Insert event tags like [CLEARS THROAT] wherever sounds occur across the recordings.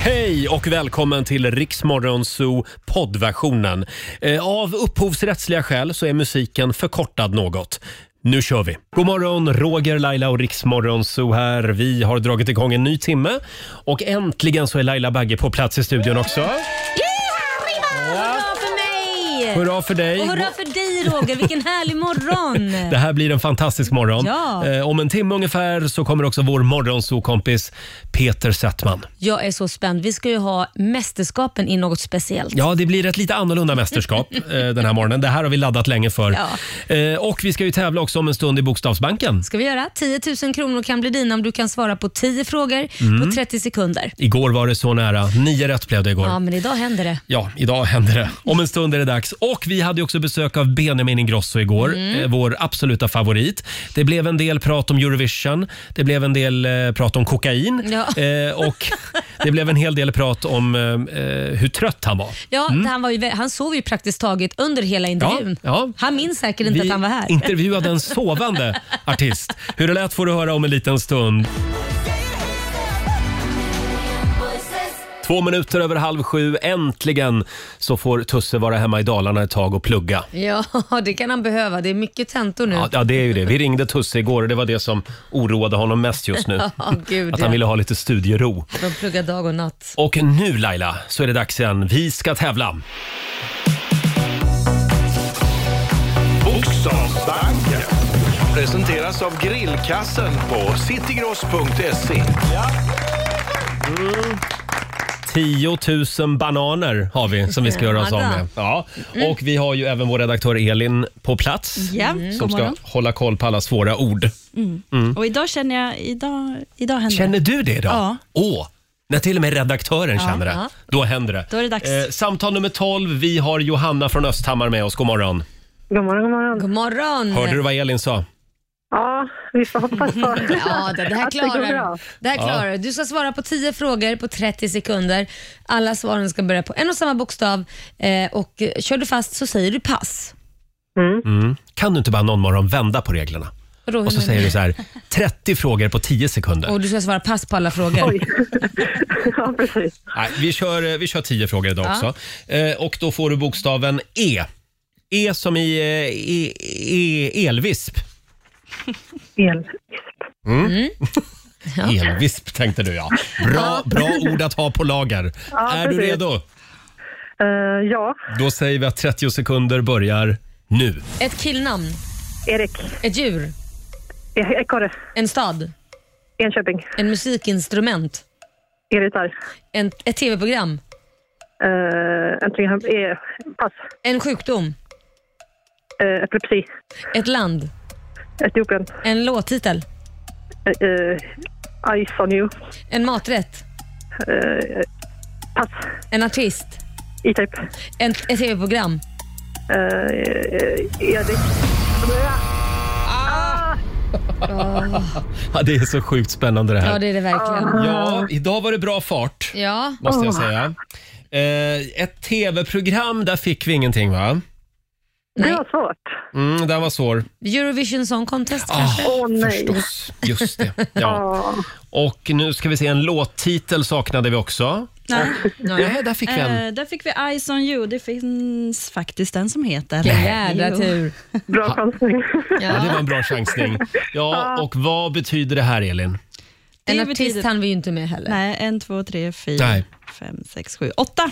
Hej och välkommen till Riksmorgon Zoo poddversionen. Eh, Av upphovsrättsliga skäl så är musiken förkortad något. Nu kör vi! God morgon, Roger, Laila och Riksmorgon Zoo här. Vi har dragit igång en ny timme och äntligen så är Laila Bagge på plats i studion också. Hurra för mig! Hurra för dig! Och hurra för dig Roger, vilken [LAUGHS] härlig morgon! Det här blir en fantastisk morgon. Ja. Eh, Om en timme ungefär så kommer också vår morgonsokompis Peter Settman. Jag är så spänd. Vi ska ju ha mästerskapen i något speciellt. Ja, det blir ett lite annorlunda mästerskap eh, den här morgonen. Det här har vi laddat länge för. Eh, och vi ska ju tävla också om en stund i Bokstavsbanken. ska vi göra. 10 000 kronor kan bli dina om du kan svara på 10 frågor på 30 sekunder. Mm. Igår var det så nära. Nio rätt blev det igår. Ja, Ja. men idag händer det. idag händer det. Om en stund är det dags. Och vi hade ju också besök av Benjamin Ingrosso igår, Mm. eh, vår absoluta favorit. Det blev en del prat om Eurovision, det blev en del eh, prat om kokain Ja. eh, och det blev en hel del prat om eh, eh, hur trött han var. Ja, han, var ju, vä- han sov ju praktiskt taget under hela intervjun. Mm. ja. Han minns säkert inte att han var här. intervjuade en sovande artist. Hur det lät får du höra om en liten stund. Två minuter över halv sju. Äntligen så får Tusse vara hemma i Dalarna ett tag och plugga. [LAUGHS] Ja, det kan han behöva. Det är mycket tentor nu. Ja, ja, det är ju det. Vi ringde Tusse igår och det var det som oroade honom mest just nu. [LAUGHS] Ja, gud, Att han ja. ville ha lite studiero. De pluggar dag och natt. Och nu Laila, så är det dags igen. Vi ska tävla. Bokstavsbanken presenteras av grillkassen på citygross.se. 10 000 bananer har vi som vi ska göra oss av med. Ja. Och vi har ju även vår redaktör Elin på plats. Ja, mm. Som ska hålla koll på alla svåra ord. Mm. Och idag känner jag, idag, idag händer Känner du det idag? Ja. Åh, när till och med redaktören känner det. Då händer det. Eh, Då är det dags. samtal nummer 12. Vi har Johanna från Östhammar med oss. God morgon. God morgon, god morgon. God morgon! Mm. Hörde du vad Elin sa? Ja, vi får hoppas på Mm. Ja, det, det här att det går klarar bra. du. det här klarar du. Du ska svara på 10 frågor på 30 sekunder. Alla svaren ska börja på en och samma bokstav eh, och eh, kör du fast så säger du pass. Mm. Kan du inte bara någon morgon vända på reglerna? Vadå, hur Och så menar säger du så här, 30 frågor på 10 sekunder. och du ska svara pass på alla frågor. ja, precis. Nej, vi, kör, eh, vi kör tio frågor idag också. Eh, och då får du bokstaven E. E som i eh, e, e, elvisp. El. Mm. Mm. [LAUGHS] Elvisp Mm. tänkte du ja. Bra, bra ord att ha på lager. Ja, är du precis. redo? [LAUGHS] Eh, ja, Då säger vi att 30 sekunder börjar nu. Ett killnamn, Erik. ett djur, E- Ekorre. en stad, Enköping. en musikinstrument, E-gitarr. en, ett tv-program, Eh, Äntligen. hem- E- pass. en sjukdom, Eh, epilepsi. ett land, Etiopien. en låttitel, Eh, eh, Ice on you. en maträtt, Eh, pass. en artist, E-type. en, ett tv-program. Eh, eh, Erik. Ja, det är så sjukt spännande det Ja, här. det är det verkligen. Ja, idag var det bra fart Ja, måste jag säga. Eh, ett tv-program, där fick vi ingenting va? Det var svårt. Mm, den var svår. Eurovision Song Contest kanske? Åh nej. Ah, Förstås. Just det. Ja. [LAUGHS] Ja, Och nu ska vi se, en låttitel saknade [LAUGHS] vi också. Nej. Nej, där fick vi en. Eh, där fick vi Eyes on you. Det finns faktiskt den som heter. Vilken jädra Jo. tur. bra chansning. Ja, det var en bra chansning. Ja, och vad betyder det här Elin? Det En betyder- artist hann vi ju inte med heller. Nej, en, två, tre, Nej. Mm. fyra, fem, sex, sju, åtta.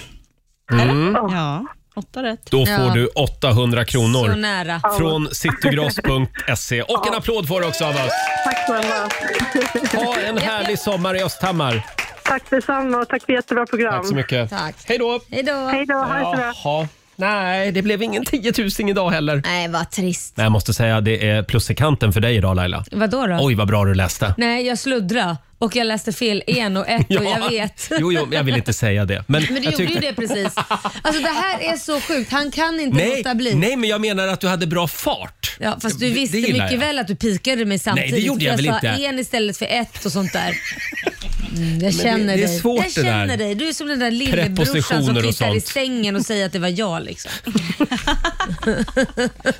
Eller? Ja, åtta rätt. Då får Ja. du 800 Så kronor nära. från citygross.se. Och en applåd får du också av oss. Tack snälla. Ha en härlig sommar i Östhammar. Tack detsamma och tack för jättebra program. Tack så mycket. Tack. Hej då. Hej då. Hej då, ha det så bra. Jaha. Nej, det blev ingen 10 000 idag heller. Nej, vad trist. Nej, jag måste säga det är plus i kanten för dig idag Laila. Vadå då? Oj, vad bra du läste. Nej, jag sluddra och jag läste fel [LAUGHS] en och ett och jag vet. Jo, jo, jag vill inte säga det. Men, Men du jag gjorde tyckte- ju det precis. Alltså det här är så sjukt. Han kan inte Nej, låta bli. nej, men jag menar att du hade bra fart. Ja, fast du Det- det visste gillar mycket jag. väl att du pikade mig samtidigt. gjorde jag För väl sa inte. en istället för ett och sånt där. Mm, det- jag känner det är dig. svårt jag det där. känner dig. Du är som den där lillebrorsan som Prepositioner och tittar i sånt. sängen och säger att det var jag. Liksom.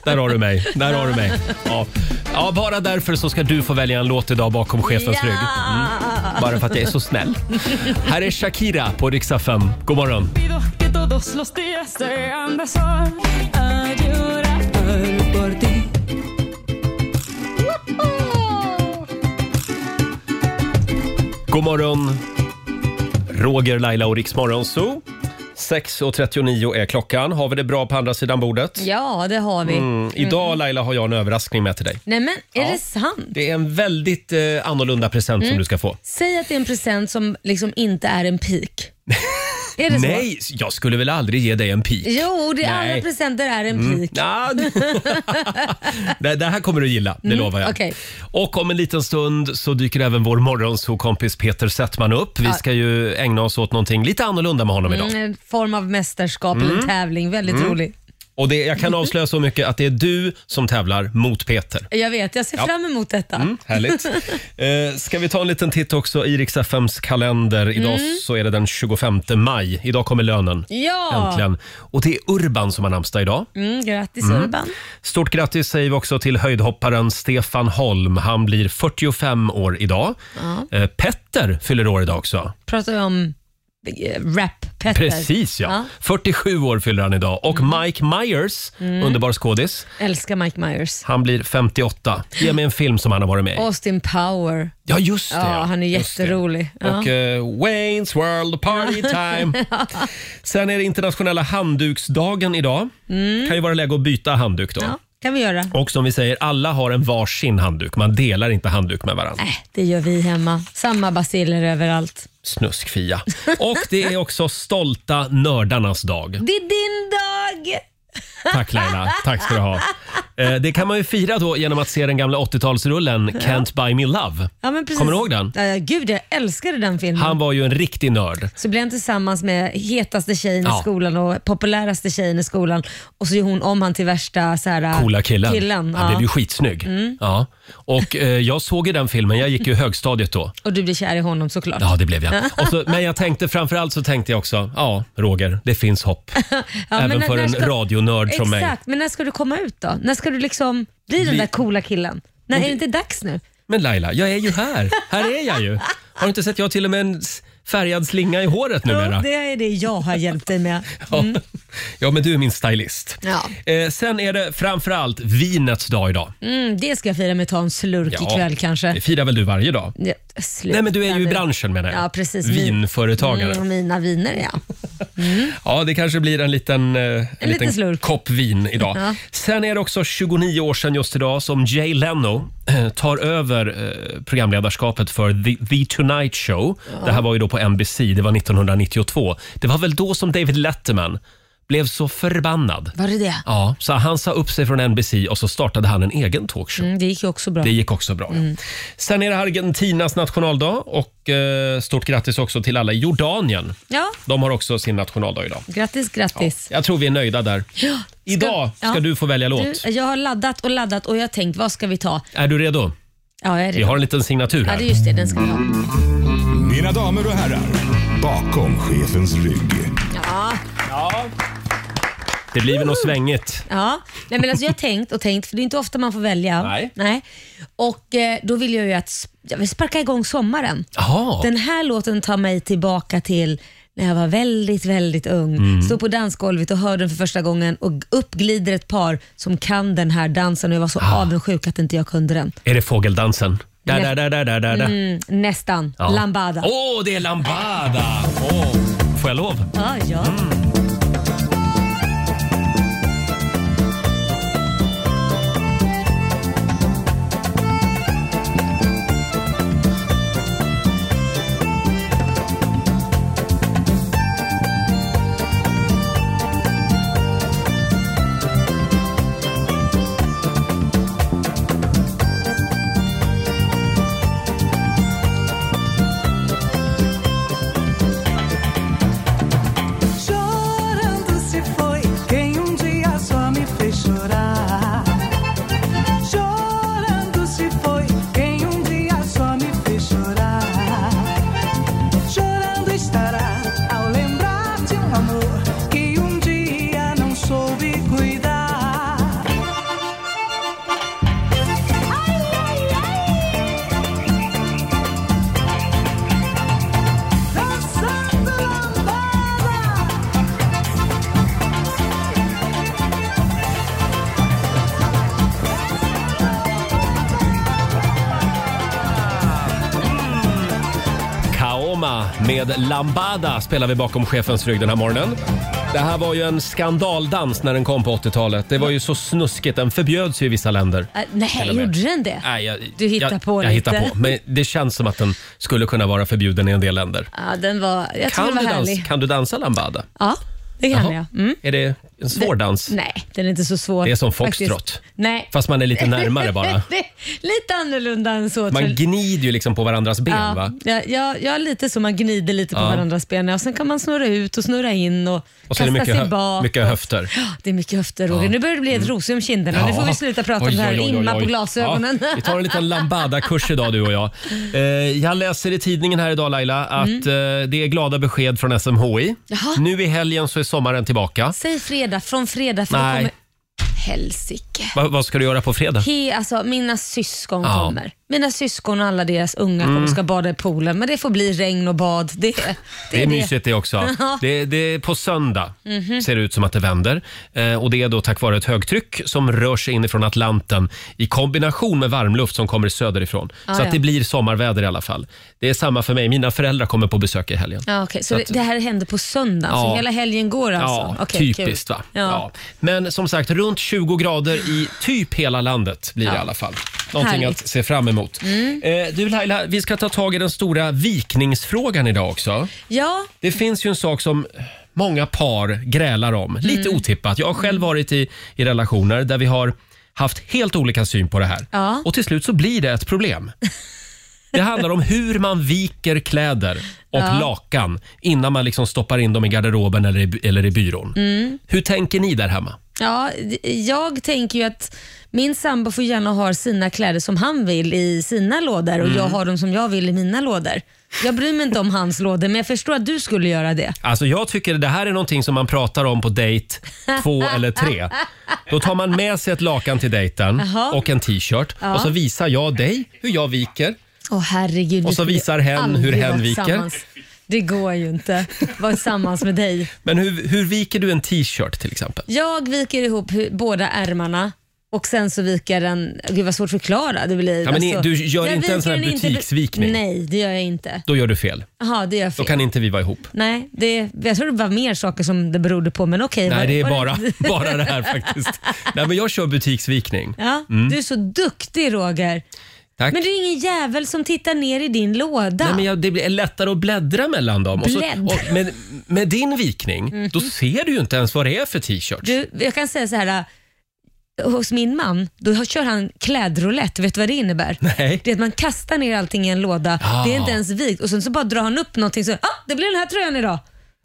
Där har du mig. Där har du mig. Ja. ja, bara därför så ska du få välja en låt idag bakom chefens rygg. Mm. Ja. Bara för att det är så [LAUGHS] snäll. Här är Shakira på riksdag 5. God morgon. God morgon, Roger, Laila och Riksmorgon Zoo. 6.39 är klockan. Har vi det bra på andra sidan bordet? Ja, det har vi. Mm. Idag Laila har jag en överraskning med till dig. Nej men, är Ja. det sant? Mm. Det är en väldigt eh, annorlunda present som du ska få. Säg att det är en present som liksom inte är en pik. är det så? Nej, jag skulle väl aldrig ge dig en pik. Jo, det är Nej. Mm. alla presenter är en pik. Ja, [LAUGHS] [LAUGHS] det, det här kommer du gilla, det lovar jag. Mm, okej. Och om en liten stund så dyker även vår morgonsokompis Peter Settman upp. Vi ska ju ägna oss åt någonting lite annorlunda med honom idag. Mm. Mm, en form av mästerskap eller tävling. Väldigt roligt. Och det, jag kan avslöja så mycket att det är du som tävlar mot Peter. Jag vet, jag ser fram emot detta. Mm, Härligt. Eh, ska vi ta en liten titt också i riks FMs kalender. Idag Mm. så är det den 25 maj. Idag kommer lönen. Ja! Äntligen. Och det är Urban som har namnsdag idag. [LAUGHS] Mm, grattis Urban. Stort grattis säger vi också till höjdhopparen Stefan Holm. Han blir 45 år idag. Eh, Petter fyller år idag också. Pratar vi om eh, rap-Petter? Precis ja. Ja. Mm. 47 år fyller han idag. Och Mike Myers, underbar skådis, Älskar Mike Mm. Myers. han blir 58. Ge mig en film som han har varit med i. Austin Power. Ja, just det. Ja, han är Just det. jätterolig. Ja. Och eh, Wayne's World Party [LAUGHS] Time. Sen är det internationella handduksdagen idag. kan ju vara läge att byta handduk då. Mm. Ja, kan vi göra. Och som vi säger, alla har en varsin handduk. Man delar inte handduk med varandra. Äh, det gör vi hemma. Samma basiller överallt. Snuskfia. Och det är också stolta nördarnas dag. [LAUGHS] Det är din dag! Tack Laila, tack ska du ha. Eh, Det kan man ju fira då genom att se den gamla 80-talsrullen Can't Buy Me Love. Ja, men precis. Kommer du ihåg den? Ja, ja, gud, jag älskade den filmen. Han var ju en riktig nörd. Så blev han tillsammans med hetaste tjejen Ja. i skolan och populäraste tjejen i skolan och så gör hon om han till värsta så här, Coola killen. Han ja. blev ju skitsnygg. Ja. Och eh, jag såg ju den filmen, jag gick ju i högstadiet då. Och du blir kär i honom såklart. Ja, det blev jag. Och så, men jag tänkte framförallt så tänkte jag också, ja Roger, det finns hopp. Ja, Även men när- för när en ska- radionörd Exakt, som mig. men när ska du komma ut då? När ska du liksom bli den Bli- där coola killen? När är det inte dags nu? Men Laila, jag är ju här. Här är jag ju. Har du inte sett? Jag har till och med en s- färgad slinga i håret numera. det är det jag har hjälpt dig med. [LAUGHS] Mm. Ja. ja, men du är min stylist. Ja. Eh, sen är det framförallt vinets dag idag. Mm, det ska jag fira med att ta en slurk ikväll Det kanske. firar väl du varje dag? Ja, slut. Nej, men du är ju i nu. branschen menar jag. Ja, precis. Vinföretagare. Mm, mina viner ja. Ja, det kanske blir en liten, eh, en liten, liten slurk. kopp vin idag. Ja. Sen är det också 29 år sedan just idag som Jay Leno eh, tar över eh, programledarskapet för The, The Tonight Show. Det här var ju då på NBC, det var 1992. Det var väl då som David Letterman blev så förbannad. Var det det? Ja, så han sa upp sig från NBC och så startade han en egen talkshow. Mm, det gick ju också bra. Mm. Det gick också bra. ja. Sen är det Argentinas nationaldag och eh, stort grattis också till alla i Jordanien. Ja, De har också sin nationaldag idag. grattis, grattis. Jag tror vi är nöjda där. Idag ska ja. du få välja låt. Du, jag har laddat och laddat och jag har tänkt, vad ska vi ta? Är du redo? Ja, jag är Vi redo. har en liten signatur Ja, här. det är just det. Den ska vi ha. Mina damer och herrar, bakom chefens rygg. Ja. Det blir väl något svängigt. Ja, Nej, men alltså jag har tänkt och tänkt, för det är inte ofta man får välja. Nej. Och eh, då vill jag ju att sp- jag vill sparka igång sommaren. Jaha, Den här låten tar mig tillbaka till när jag var väldigt, väldigt ung. Mm. Stod på dansgolvet och hörde den för första gången och uppglider ett par som kan den här dansen och jag var så Ah. avundsjuk att inte jag kunde den. är det fågeldansen? Där, där, där, där, där, där. där. Mm, nästan. Ja. Lambada. Åh, det är lambada! Åh, Får jag lov? Ja, ja. Mm. um um um Jag Paloma med Lambada spelar vi bakom chefens rygg den här morgonen. Det här var ju en skandaldans när den kom på 80-talet. Det var ju så snuskigt. Den förbjöds ju i vissa länder. Äh, nej, och med. gjorde den det? Nej, jag, Du hittar jag, på jag lite. hittar på. Men det känns som att den skulle kunna vara förbjuden i en del länder. Ja, den var, jag tycker Kan den du, var dans, härlig. kan du dansa lambada? Ja, det kan jag. Mm. Är det en svår dans? Nej, den är inte så svår. Det är som faktiskt. foxtrot. Nej. Fast man är lite närmare bara. [LAUGHS] Det är lite annorlunda än så. tror Man jag. gnider ju liksom på varandras ben ja, va? ja, ja, ja, lite så. Man gnider lite på Ja. varandras ben. Och sen kan man snurra ut och snurra in och, Och så är kasta det mycket, sig hö- bak. mycket höfter. Ja, Det är mycket höfter, Roger. Nu börjar det bli ett ros om kinderna. Nu får vi sluta prata om Oj, det här. oj, oj, oj, Imma oj. på glasögonen. Ja, vi tar en [LAUGHS] liten lambada-kurs idag du och jag. Eh, jag läser i tidningen här idag Laila att eh, det är glada besked från SMHI. Mm. Jaha. Nu i helgen så är sommaren tillbaka. Säg fredag, från fredag. För Nej. Nej. Kommer... Helsike. Va, vad ska du göra på fredag? He, alltså, mina syskon Ja. Mm. kommer. Mina syskon och alla deras unga kommer ska bada i poolen. Men det får bli regn och bad. Det, det, Mhm. Det är mysigt det [LAUGHS] också. Det, det är på söndag ser det ut som att det vänder. Eh, och Det är då tack vare ett högtryck som rör sig inifrån Atlanten i kombination med varmluft som kommer söderifrån. så ja. att det blir sommarväder i alla fall. Det är samma för mig. Mina föräldrar kommer på besök i helgen. Ja, okej. Så, Så det- att- det här händer på söndag, Ja. så hela helgen går alltså? Ja, Okej, typiskt kul. va? Ja. Ja. Men som sagt, runt 20 grader i typ hela landet blir det i alla fall. Någonting Härligt. Mm. att se fram emot. Eh, du Laila, vi ska ta tag i den stora vikningsfrågan idag också. ja, Det finns ju en sak som många par grälar om. Mm. Lite otippat. Jag har själv varit i, i relationer där vi har haft helt olika syn på det här. Ja. Och till slut så blir det ett problem. Det handlar om hur man viker kläder och lakan innan man liksom stoppar in dem i garderoben eller i, eller i byrån. Mm. Hur tänker ni där hemma? ja, d- jag tänker ju att min sambo får gärna ha sina kläder som han vill i sina lådor och jag Mm. har dem som jag vill i mina lådor. Jag bryr mig inte om hans lådor, men jag förstår att du skulle göra det. Alltså jag tycker det här är någonting som man pratar om på dejt två eller tre. Då tar man med sig ett lakan till dejten Jaha. och en t-shirt och så visar jag dig hur jag viker Åh herregud. Och vi så skulle visar hen aldrig hur hen vara viker. tillsammans. Det går ju inte. Vara tillsammans med dig. Men hur, hur viker du en t-shirt till exempel? Jag viker ihop hu- båda ärmarna och sen så viker den... Gud vad svårt att förklara. Det blir, alltså, Ja, men ni- du gör jag inte en sån här viker den inte- butiksvikning? Nej, det gör jag inte. Då gör du fel. Jaha, det gör jag Då fel. kan inte vi vara ihop. Nej, det, jag tror det var mer saker som det berodde på, men okej. Nej, vad- det är vad- [LAUGHS] bara, [LAUGHS] bara det här faktiskt. Nej, men jag kör butiksvikning. Mm. Ja, Du är så duktig Roger. Tack. Men det är ingen jävel som tittar ner i din låda. Nej, men jag, det är lättare att bläddra mellan dem. Och så, Bläddra. och med, med din vikning, Mhm. då ser du ju inte ens vad det är för t-shirt. Du, jag kan säga så här. äh, Hos min man, då har- kör han klädroulette. Vet du vad det innebär? Nej. Det är att man kastar ner allting i en låda. Ah. Det är inte ens vikt och sen så bara drar han upp någonting så ah, det blir den här tröjan idag.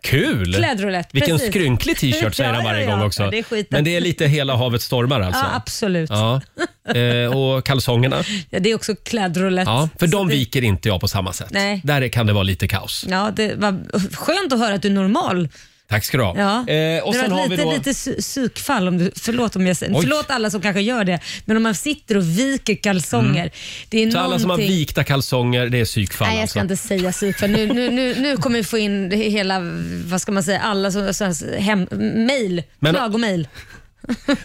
Kul! Klädroulett, Vilken precis. skrynklig t-shirt säger [LAUGHS] Ja, han ja, varje ja. gång också. Ja, det är skiten. men det är lite hela havet stormar Ja, alltså. absolut. Ja. Ja. Eh, och [LAUGHS] kalsongerna. det är också klädroulette. Ja, för Så de det- viker inte jag på samma sätt. Nej. Där kan det vara lite kaos. Ja, det var skönt att höra att du är normal. Tack ska du ha. Ja. Eh, och det sen var har ett vi lite, då... lite sy- psykfall, om du, förlåt, om jag, säger- Oj. förlåt alla som kanske gör det, men om man sitter och viker kalsonger. Det är Så Mm. alla som har någonting- vikta kalsonger, det är psykfall Nej, jag alltså. ska inte säga psyk, för nu, nu, nu, nu kommer vi få in det hela, vad ska man säga, alla så, så, så, hem, mail, Men- klagomail.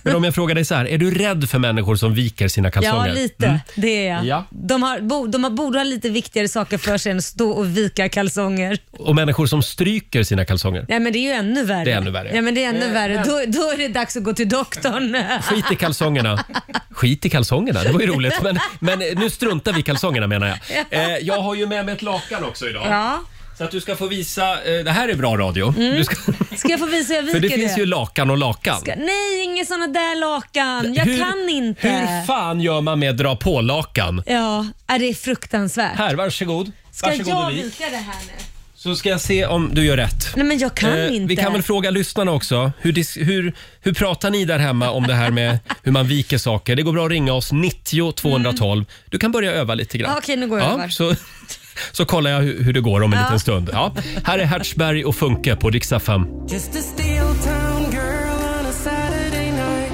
Men om jag frågar dig så här, är du rädd för människor som viker sina Ja, kalsonger? Mm. lite. Det är jag. Ja. De, har, bo, de har, borde ha lite viktigare saker för sig än att stå och vika kalsonger. Och människor som stryker sina kalsonger? Nej, men det är ju ännu värre. Det är ännu värre. Ja, men det är ännu värre. Då, då är det dags att gå till doktorn. Skit i kalsongerna. Skit i kalsongerna, det var ju roligt. Men, men nu struntar vi i kalsongerna menar jag. Eh, jag har ju med mig ett lakan också idag. Ja. Så att du ska få visa, eh, det här är bra radio. Du ska, [LAUGHS] Ska jag få visa hur jag för viker det finns ju lakan och lakan. Ska- Nej, inga såna där lakan. Jag Hur- kan inte. Hur fan gör man med dra på-lakan? Ja, är det är fruktansvärt. Här, varsågod. Ska varsågod jag och vik. vika det här nu? Så ska jag se om du gör rätt. Nej, men jag kan Eh, inte. Vi kan väl fråga lyssnarna också. Hur, dis- hur, hur pratar ni där hemma om det här [LAUGHS] med hur man viker saker? Det går bra att ringa oss 90 212. Du kan börja öva lite grann. Ja, Mm. okej, nu går jag och övar. Så, så kollar jag hur, hur det går om en liten stund. Ja. Här är Hertzberg och Funke på riksdag 5. Just a steel town girl on a Saturday night.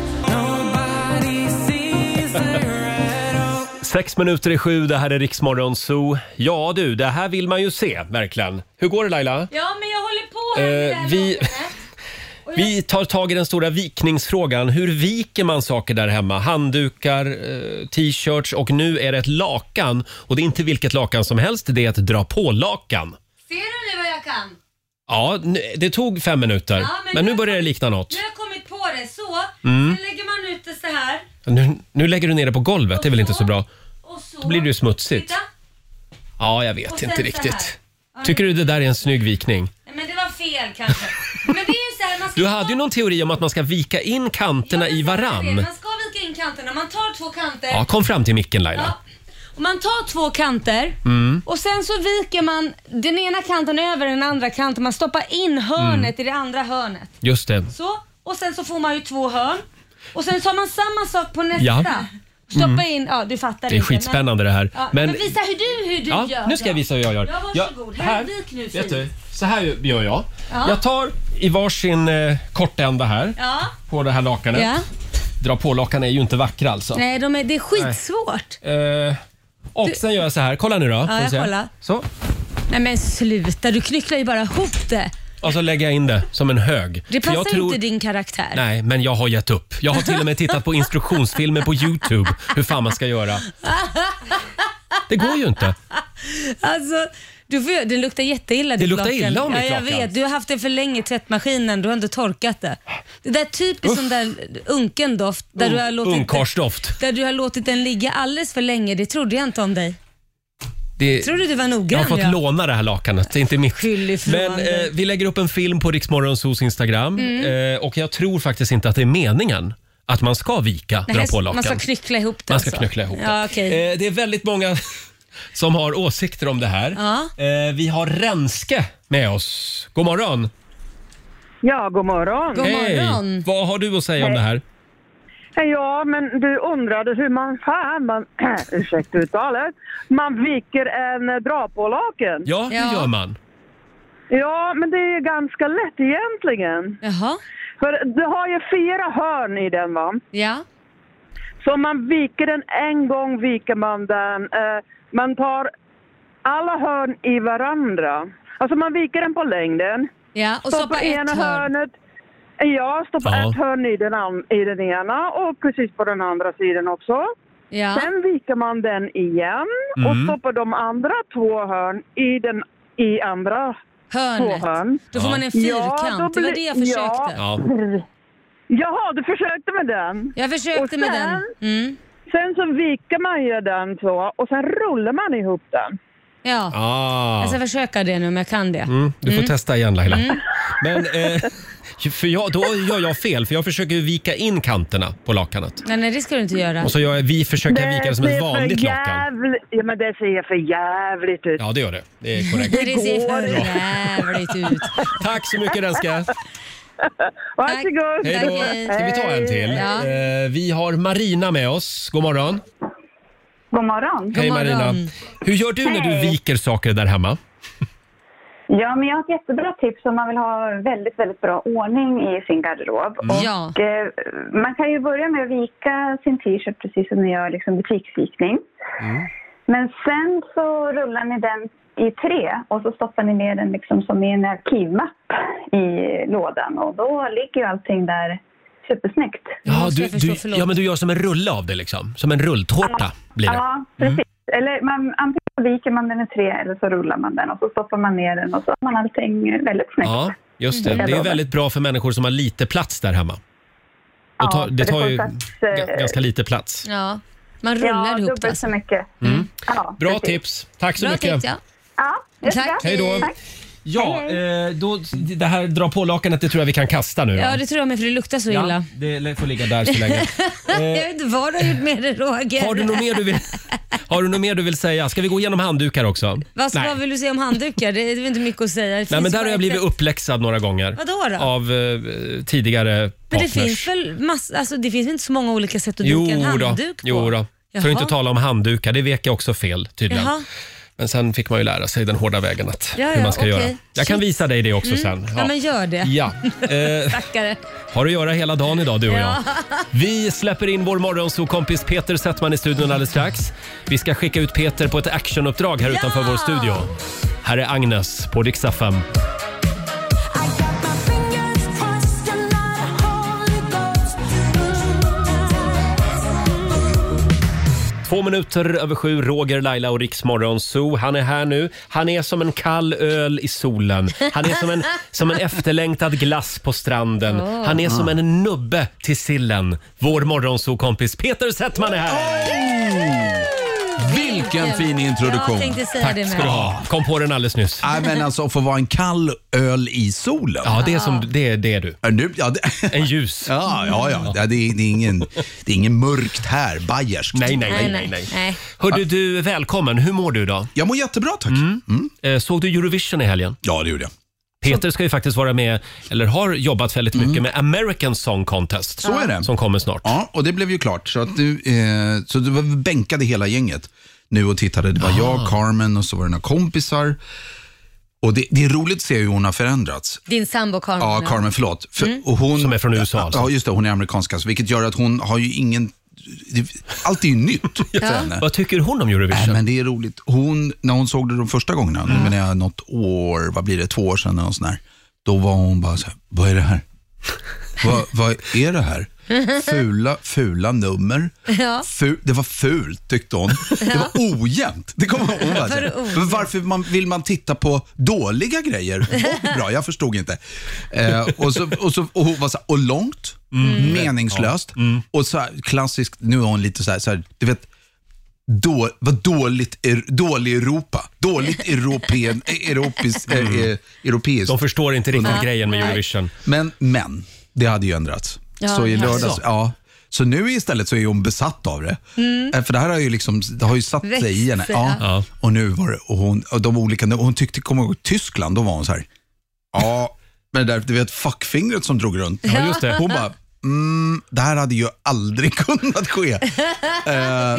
Nobody sees her at all. Sex minuter i sju, det här är Riksmorgon Zoo. Ja du, det här vill man ju se, verkligen. Hur går det Laila? Ja, men jag håller på här med det Eh, här vi, [LAUGHS] lånet. vi tar tag i den stora vikningsfrågan. Hur viker man saker där hemma? Handdukar, eh, t-shirts och nu är det ett lakan. Och det är inte vilket lakan som helst, det är ett dra på-lakan. jag kan. Ja, n- det tog fem minuter. Ja, men, men nu nu- börjar det likna något. Nu har jag kommit på det. Så, Mm. sen lägger man ut det så här. Nu, nu lägger du ner det på golvet, det är väl inte så bra? Och så. Då blir det ju smutsigt. Titta. Ja, jag Och vet sen inte så riktigt. här. Ja, Tycker du det där är en snygg vikning? Nej, Men det var fel kanske. Men det är ju så här, man ska Du hade ju någon teori om att man ska vika in kanterna i varann. Man ska vika in kanterna. Man tar två kanter. Ja, kom fram till micken Laila. Ja. Och Man tar två kanter Mm. och sen så viker man den ena kanten över den andra kanten. Man stoppar in Mm. hörnet i det andra hörnet. Just det. Så, och sen så får man ju två hörn. Och sen tar man samma sak på nästa. Ja. Stoppa Mm. in, ja du fattar Det är inte, men- skitspännande det här. Ja, men, Men visa hur du, hur du ja, gör. nu ska jag visa hur jag gör. Ja, varsågod. Här, vik nu vet fint. du, så här gör jag. Ja. Jag tar i varsin eh, kortända här Ja. på det här lakanet. ja. Dra på lakan är ju inte vackra alltså. Nej, de är, det är skitsvårt. Eh, och Du- sen gör jag så här. Kolla nu då. Ja, Får vi jag se. kollar. Så. Nej men sluta, du knycklar ju bara ihop det. Och så lägger jag in det som en hög. För Det passar jag tror- inte din karaktär. Nej, men jag har gett upp. Jag har till och med [LAUGHS] tittat på instruktionsfilmer på Youtube hur fan man ska göra. [LAUGHS] Det går ju inte. Alltså, du får, den luktar jätteilla ditt Det luktar lakan. illa om ja, mitt jag lakan. vet. Du har haft det för länge i tvättmaskinen. Du har inte torkat det. Det där är typiskt sån där unken doft. Där du har Un- låtit Ungkarlsdoft. Där du har låtit den ligga alldeles för länge. Det trodde jag inte om dig. Det, Tror du du var noggrann? jag har fått ja? låna det här lakanet, det är inte mitt. ifrån Men eh, dig. vi lägger upp en film på Riksmorgonsos Instagram Mm. eh, och jag tror faktiskt inte att det är meningen att man ska vika, Nej, dra på lakan. Man ska knyckla ihop det. Man ska alltså. knyckla ihop det. ja, okej. Eh, det är väldigt många [LAUGHS] som har åsikter om det här. Ja. Eh, vi har Renske med oss. God morgon! Ja, god morgon. Hej! Vad har du att säga om Hej. det här? Ja, men du undrade hur man fan, man, [CLEARS THROAT] ursäkta uttalet, man viker en eh, drapålaken. Ja, det gör man. Ja, men det är ganska lätt egentligen. Jaha. För det har ju fyra hörn i den va? Ja. Så man viker den en gång, viker man den. Eh, man tar alla hörn i varandra. Alltså man viker den på längden. Ja, och stoppar ett ena hörn. hörnet. Ja, stoppa Ja. ett hörn i den, an- i den ena och precis på den andra sidan också. Ja. Sen viker man den igen och Mm. stoppar de andra två hörn i den i andra Hörnet. två hörn. Då får Ja. man en Ja, fyrkant. då Det var blir- det jag ja. försökte. Ja. Jaha, du försökte med den? Jag Och försökte sen- med den. Mm. Sen så viker man ju den så och sen rullar man ihop den. Ja. Ah. Jag ska försöka det nu om jag kan det. Mm, du får Alltså, Mm. testa igen Laila. Men, eh, för jag, då gör jag fel, för jag försöker ju vika in kanterna på lakanet. Nej, nej, det ska du inte göra. Och så gör jag, vi försöker vika det som ser ett för vanligt lakan. jävl- Ja, men det ser för jävligt ut. Ja, det gör det. Det är korrekt. Det ser för går. jävligt ut. Tack så mycket Renske. Varsågod! Hej då. Tack. Ska vi ta en till? Ja. Eh, vi har Marina med oss. God morgon. God morgon. Hej God morgon. Marina. Hur gör du när du viker saker där hemma? Ja, men jag har ett jättebra tips om man vill ha väldigt, väldigt bra ordning i sin garderob. Mm. Ja. Och, eh, man kan ju börja med att vika sin t-shirt precis som ni gör liksom butiksvikning. Men sen så rullar ni den i tre och så stoppar ni ner den liksom som i en arkivmapp i lådan och då ligger ju allting där supersnyggt. Ja, måste du, jag förstå, du, förlåt. ja, men du gör som en rulle av det liksom. Som en rulltårta blir det. Mm. Ja, precis. Eller man, antingen så viker man den i tre eller så rullar man den och så stoppar man ner den och så har man allting väldigt snyggt. Ja, just det. Mm. Det är väldigt bra för människor som har lite plats där hemma. Då tar, Ja, det för tar får ju plats, ga- eh, ganska lite plats. Mm. Ja. Man rullar ja, ihop dubbelt det. Alltså. så mycket. Mm. Ja, Bra precis. tips. Tack så Bra mycket. tips, ja. Ja, jättebra. Tack. Hej då. Tack. Ja, eh, då, det här dra på lakanet det tror jag vi kan kasta nu. Ja, det tror jag med för det luktar så illa. Ja, det får ligga där så [LAUGHS] länge. Jag vet inte vad du har gjort med det Roger. Har du något mer [LAUGHS] du vill, har du något mer du vill säga? Ska vi gå igenom handdukar också? vad, Nej. vad vill du säga om handdukar? Det är väl inte mycket att säga. Det Nej, men finns där bara har jag blivit ett- uppläxad några gånger. Vadå då? Av eh, tidigare Men det partners. finns väl massa, alltså, det finns väl inte så många olika sätt att Jo duka en då, handduk på? jo då. För att inte Jaha. tala om handdukar, det vek jag också fel tydligen. Jaha. Men sen fick man ju lära sig den hårda vägen att, Ja, hur ja, man ska okej. göra. Jag kan Shit. Mm. visa dig det också sen. Ja. men gör det. Ja. [LAUGHS] Eh, Stackare. har att göra hela dagen idag du och jag. Vi släpper in vår morgonsokompis Peter Settman i studion alldeles strax. Vi ska skicka ut Peter på ett actionuppdrag här utanför vår studio. Här är Agnes på Rix FM. I got my fingers crossed, I'm not a Holy Ghost. Mm. Två minuter över sju, Roger, Laila och Riksmorgon Zoo. Han är här nu. Han är som en kall öl i solen. Han är som en, som en efterlängtad glass på stranden. Åh. Han är som en nubbe till sillen. Vår morgonzoo-kompis Peter Settman är här! Vilken fin Jag introduktion. tänkte säga det Tack med. ska du ha. Kom på den alldeles nyss. Nej, men alltså att få vara en kall öl i solen. Ja, det är, som, det är, det är du. Är Nu, ja, det, En ljus. [LAUGHS] ja, ja, ja. Det, det, är, det, är ingen, det är ingen mörkt här, bayerskt. Nej, nej, nej. Nej, nej, nej. nej, nej. Hördu, du, välkommen. Hur mår du idag? Jag mår jättebra tack. Mm. Eh, Såg du Eurovision i helgen? Ja, det gjorde jag. Peter ska ju faktiskt vara med, eller har jobbat väldigt mycket med American Song Contest. Mm. Så är det. Som kommer snart. Ja, och det blev ju klart. Så, att du, eh, så du var- bänkade hela gänget nu och tittade. Det var Ah. jag, Carmen och så var det några kompisar. Och det, det är roligt att se hur hon har förändrats. Din sambo Carmen. Ja, Mm. Carmen, förlåt. För, och hon, Som är från USA alltså. Ja, just det. Hon är amerikansk alltså, vilket gör att hon har ju ingen... det- Allt är ju [LAUGHS] nytt för henne. Vad tycker hon om Eurovision? Nej, men det är roligt. Hon, när hon såg det de första gångerna, mm. men jag något år, vad blir det, två år sedan eller något sånt där, då var hon bara så här, vad är det här? vad, vad är det [LAUGHS] här? Fula, fula nummer. Ja. Ful, det var fult tyckte hon. Det var ojämnt. Det kommer hon ihåg. Var det alltså. ojämnt? Men Varför man, vill man titta på dåliga grejer? [LAUGHS] Och bra, jag förstod inte. Eh, och, så, och, så, och hon var så här, och långt, Mm. Mm. meningslöst och så här, klassiskt, nu är hon lite så här, så här du vet, då, vad dåligt, er, dålig Europa. [LAUGHS] Dåligt europen, europeiskt. eh, eh, europeiskt. Mm. De förstår inte riktigt grejen med Eurovision. Men, men, det hade ju ändrats. Ja, Alltså. så i jaså. lördags, ja. Så nu istället så är hon besatt av det. Mm. Eh, För det här har ju, liksom, det har ju satt Växt sig i henne. sig, Ja. ja. Och nu var det, och hon, och de olika, och hon tyckte, kommer jag ihåg, Tyskland, då var hon så här, ja, men det där, du vet fuckfingret som drog runt. Ja, just det. Hon bara, mm, det här hade ju aldrig [LAUGHS] kunnat ske. I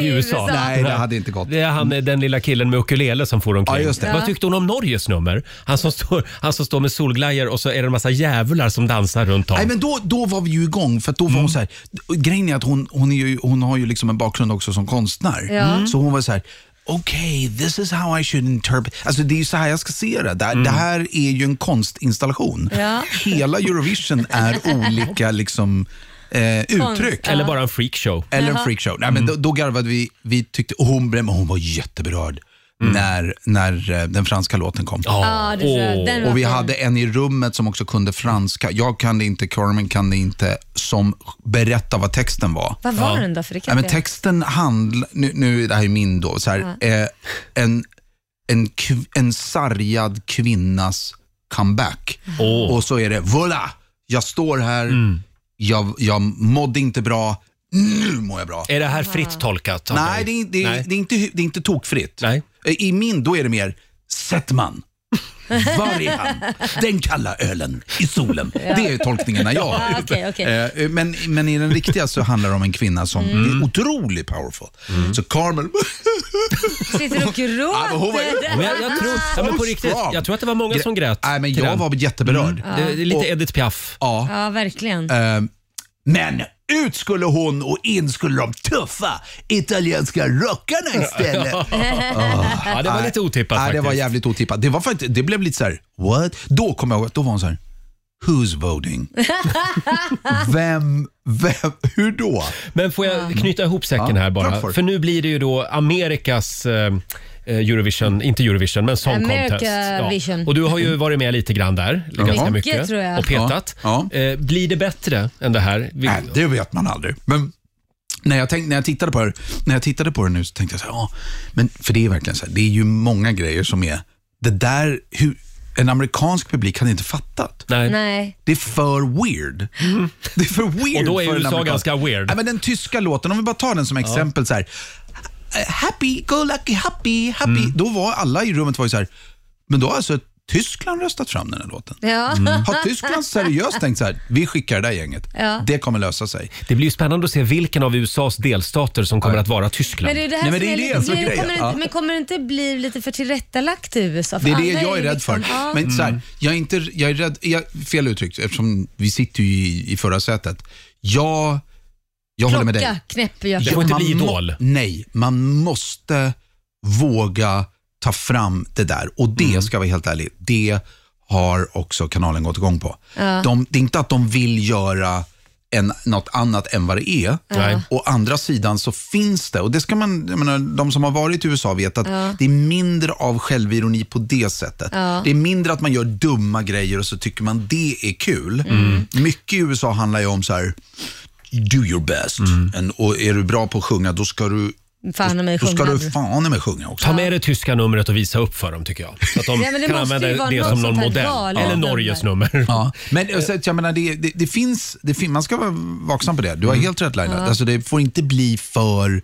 USA. USA. Eh, Nej, det hade inte gått. Mm. Det är han, den lilla killen med ukulele som for omkring. Ja, just det. Vad tyckte hon om Norges nummer? Han som står, han som står med solglajjor och så är det en massa djävlar som dansar runt om. Nej, men då, då var vi ju igång, för att då var hon så här, grejen är att hon, hon, är ju, hon har ju liksom en bakgrund också som konstnär. Så hon var så här, okej, this is how I should interpret. Alltså det är ju så här jag ska se det. Det, här- det här är ju en konstinstallation. Ja. Hela Eurovision [LAUGHS] är olika liksom, eh, uttryck. Eller bara en freakshow. Mm. Eller en freakshow. Nej, men då, då garvade vi. vi tyckte, och hon, blev- men hon var jätteberörd Mm. när, när eh, den franska låten kom. Ja, det tror jag. Åh. Den var Och vi fin. hade en i rummet som också kunde franska. Jag kan det inte, Carmen kan det inte, som berättade vad texten var. Vad var den då? För det kan Ja, men inte jag- texten handlar, nu, nu det här är min då, så här, eh, en, en, kv, en sargad kvinnas comeback. Åh. Mm. Och så är det, voilà, jag står här, jag, jag mådde inte bra, nu mår jag bra. Är det här fritt tolkat? av Nej, dig? det är, det, är, Nej. Det är inte, det är inte tokfritt. Nej. I min, då är det mer Settman. [LAUGHS] Var är [LAUGHS] han? Den kalla ölen i solen. Det är tolkningarna jag har. [LAUGHS] Ja, okej, okej. Eh, Men, men i den riktiga så handlar det om en kvinna som Mm. är otroligt powerful. Mm. Så Carmen, Sitter du och Ja, men hon var ju- Men gråter? jag, jag, tror, ja, men på Strong. riktigt, jag tror att det var många som grät. Nej, men till jag den. var jätteberörd. det, det är lite Edith Piaf. Mm. Ja. Ja, verkligen. Eh, Men ut skulle hon och in skulle de tuffa italienska rockarna istället. Ja, det var lite otippat Nej, faktiskt. det var jävligt otippat. Det, var faktiskt, det blev lite så här, what? Då kom jag ihåg, att då var hon så här, who's voting? vem, vem, [LAUGHS] hur då? Men får jag knyta ihop säcken Ja, här bara? klart får För. du. nu blir det ju då Amerikas eh, eh, Eurovision, inte Eurovision, men Song America Contest. Vision. Och du har ju varit med lite grann där, ganska Mycket, mycket, tror jag. och petat. Ja, ja. Eh, blir det bättre än det här? Vi- Nej, det vet man aldrig. Men när jag, tänkte, när, jag tittade på det, när jag tittade på det nu så tänkte jag så här, ja, men för det är verkligen så här, det är ju många grejer som är, det där, hur, en amerikansk publik hade inte fattat. Nej. Mm. Nej. Det är för weird. Det är för weird. Och då är för en USA amerikan. ganska weird. Ja, men den tyska låten, om vi bara tar den som exempel. Så här, happy, go lucky, happy, happy. Mm. Då var alla i rummet var ju så här, men då har alltså Tyskland röstat fram den här låten. Ja. Mm. Mm. Har Tyskland seriöst tänkt så här, vi skickar det där gänget. Ja. Det kommer lösa sig. Det blir ju spännande att se vilken av USAs delstater som kommer att vara Tyskland. Men det är ju det här Nej, men som det är är det lite som är grejen. grejen. Kommer det, Ja. inte- Men kommer det inte bli lite för tillrättalagt i USA? För Det är det alla jag är ju rädd liksom- för. Ja. Men så Mm. här, jag är inte, jag är rädd, jag, fel uttryckt, eftersom vi sitter ju i, i förra sätet. Jag, jag håller med dig. Klocka knäpper jag. Det får inte man bli må- Idol. Nej, man måste våga ta fram det där. Och det, Mm. ska vi helt ärlig, det har också kanalen gått igång på. De, det är inte att de vill göra en, något annat än vad det är. Nej. Å andra sidan så finns det, och det ska man, jag menar, de som har varit i USA vet att det är mindre av självironi på det sättet. Det är mindre att man gör dumma grejer och så tycker man det är kul. Mm. Mycket i USA handlar ju om så här, do your best. Mm. And, och är du bra på att sjunga, då ska du Fan i mig då ska sjunga. du fan i mig sjunga också. Ta med det tyska numret och visa upp för dem tycker jag. Så att de Ja, men det kan måste ju använda vara det något som någon sånt här modell. val Eller av Norges nummer. Ja, men eh, så att jag menar, det, det, det, finns, det fin- man ska vara vaksam på det. Du har Mm. helt rätt Laila. Alltså, det får inte bli för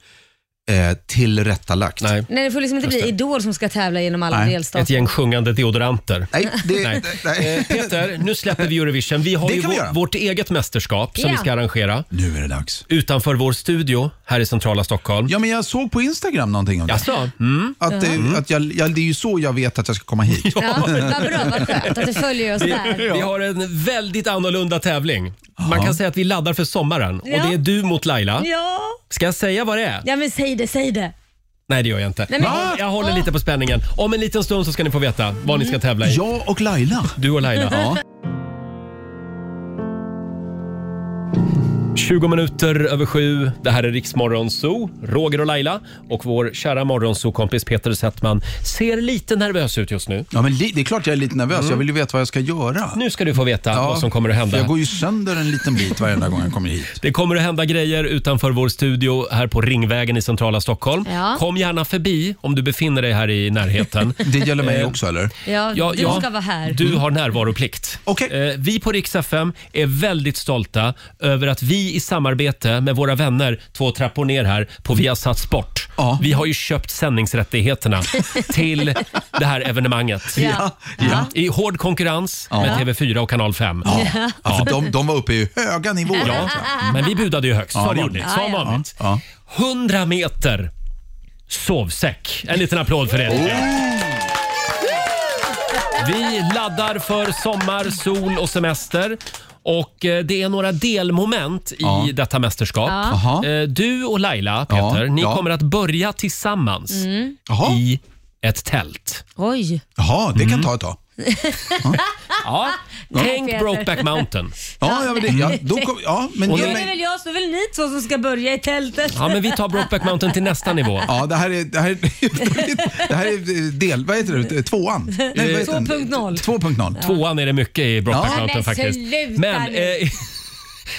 eh, tillrättalagt. Nej. Nej, det får liksom inte bli Idol som ska tävla genom alla Nej, Ett delstater. gäng sjungande deodoranter. Nej, det, Nej. nej. Eh, Peter, nu släpper vi Eurovision. Vi har Det ju kan vi vår, göra. vårt eget mästerskap som Ja. vi ska arrangera Nu är det dags. utanför vår studio här i centrala Stockholm. Ja, men jag såg på Instagram någonting om det. Jaså? Mm. Att, det- att jag, jag, det är ju så jag vet att jag ska [LAUGHS] komma hit. Ja, vad bra, vad skönt att du följer oss där. Vi har en väldigt annorlunda tävling. Man kan säga att vi laddar för sommaren och Ja. det är du mot Laila. Ja, Ska jag säga vad det är? ja men säg det, säg det. Nej, det gör jag inte. Nej, men- Va? Jag håller lite på spänningen. Om en liten stund så ska ni få veta vad ni ska tävla i. Mm. Jag och Laila. Du och Laila. 20 minuter över sju. Det här är Riksmorgon Zoo. Roger och Laila och vår kära morgonzoo-kompis Peter Settman ser lite nervös ut just nu. [LAUGHS] Ja, men li, det är klart jag är lite nervös. Jag vill ju veta vad jag ska göra. Mm. Nu ska du få veta Ja, vad som kommer att för hända. Jag går ju sönder en liten bit varenda gång jag kommer hit. Det kommer att hända grejer utanför vår studio här på Ringvägen i centrala Stockholm. Ja. Kom gärna förbi om du befinner dig här i närheten. [LAUGHS] Eh, Det gäller mig också, eller? Ja, Ja, du ja. ska vara här. Du har närvaroplikt. Okej. Eh, Vi på Rix FM är väldigt stolta över att vi i samarbete med våra vänner två trappor ner här på Viasat Sport. Ja. Vi har ju köpt sändningsrättigheterna [LAUGHS] till det här evenemanget. Ja. Ja. I hård konkurrens Ja. med TV4 och Kanal 5. Ja. för Alltså, de, de var uppe i höga nivåer. Ja, men vi budade ju högst, Ja, som det vanligt. gjorde ni. Som Ja, ja. vanligt. Ja. 100 meter sovsäck. En liten applåd för det. tycker Oh. jag. Vi laddar för sommar, sol och semester. Och eh, Det är några delmoment i Ja. detta mästerskap. Jaha. Eh, Du och Laila, Peter, Ja, ni ja. Mm. kommer att börja tillsammans Jaha. i ett tält. Mm. Oj. Jaha, det kan ta ett tag. Ja. [LAUGHS] Tänk Mm. Peter. Brokeback Mountain. Ja, ja, men, det, ja, då kom, ja, men Och ge Då är det mig, väl jag, så är det väl ni två som ska börja i tältet. Ja, men vi tar Brokeback Mountain [LAUGHS] till nästa nivå. [LAUGHS] ja, det här är, det här är, [LAUGHS] det här är del, vad heter det, tvåan? Nej, vad heter den? 2.0. 2.0. Tvåan är det mycket i Brokeback Ja. Mountain Nej, men faktiskt. sluta Men nu. eh, [LAUGHS]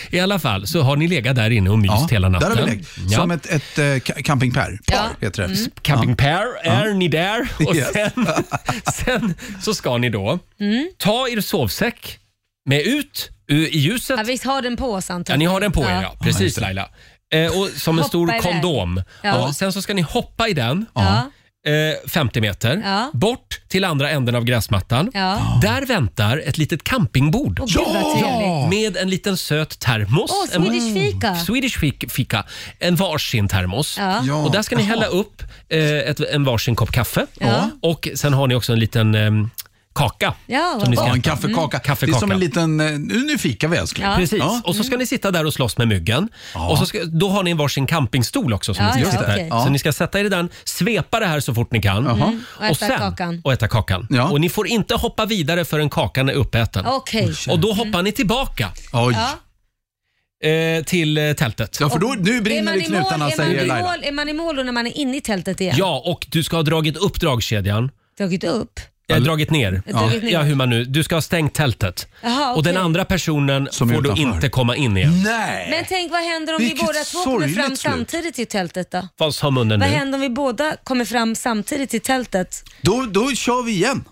i alla fall så har ni legat där inne och myst Ja, hela natten. Där har vi lekt. Ja. Som ett, ett eh, ca- campingpar. Ja. Mm. Par heter det. Camping Pair, är ni [LAUGHS] där? Och Yes. sen, [LAUGHS] sen så ska ni Mm. då ta er sovsäck med ut ur- i ljuset. Ja, visst har den på oss antar Ja, jag. ni har den på er, Ja. ja. Precis Laila. Eh, och som en Hoppa stor iväg. kondom. Ja. Och sen så ska ni hoppa i den. Ja. Eh, 50 meter. Ja. Bort till andra änden av gräsmattan. Ja. Där väntar ett litet campingbord. Åh, gud vad trevligt. Med en liten söt termos. Åh, Swedish fika. En, Swedish fik- fika. En varsin termos. Ja. Ja. Och där ska ni hälla upp eh, ett, en varsin kopp kaffe. Ja. Och sen har ni också en liten eh, kaka. Ja, vad ni Ja, en äta. Mm. kaffekaka. Det Kaffekaka. är som en liten, eh, nu nu fikar vi älskling. Ja. Mm. Precis, Ja. och så ska ni sitta där och slåss med myggen. Och så ska, då har ni en varsin campingstol också som Ja, ni ska ja, sitta okej. i. Så ni ska sätta er i den, svepa det här så fort ni kan. Mm. och äta kakan. Och äta kakan. Ja. Och ni får inte hoppa vidare förrän kakan är uppäten. Okej. Och då hoppar ni tillbaka Oj. Ja. eh, till eh, tältet. Ja, för då, nu Är brinner man, det i i mål, är, knutarna, man säger i Laila. mål, är man i mål då när man är inne i tältet igen? Ja, och du ska ha dragit upp dragkedjan. Dragit upp? Eh, dragit ner. Dragit ner. Ja, hur man nu... Du ska ha stängt tältet. Jaha, Och den okej. andra personen Som är får du utanför. inte komma in igen. Nej! Men tänk vad händer om vi Vilket båda två kommer sorgligt fram slut. samtidigt till tältet då? Vad sa munnen Vad nu? händer om vi båda kommer fram samtidigt till tältet? Då, då kör vi igen.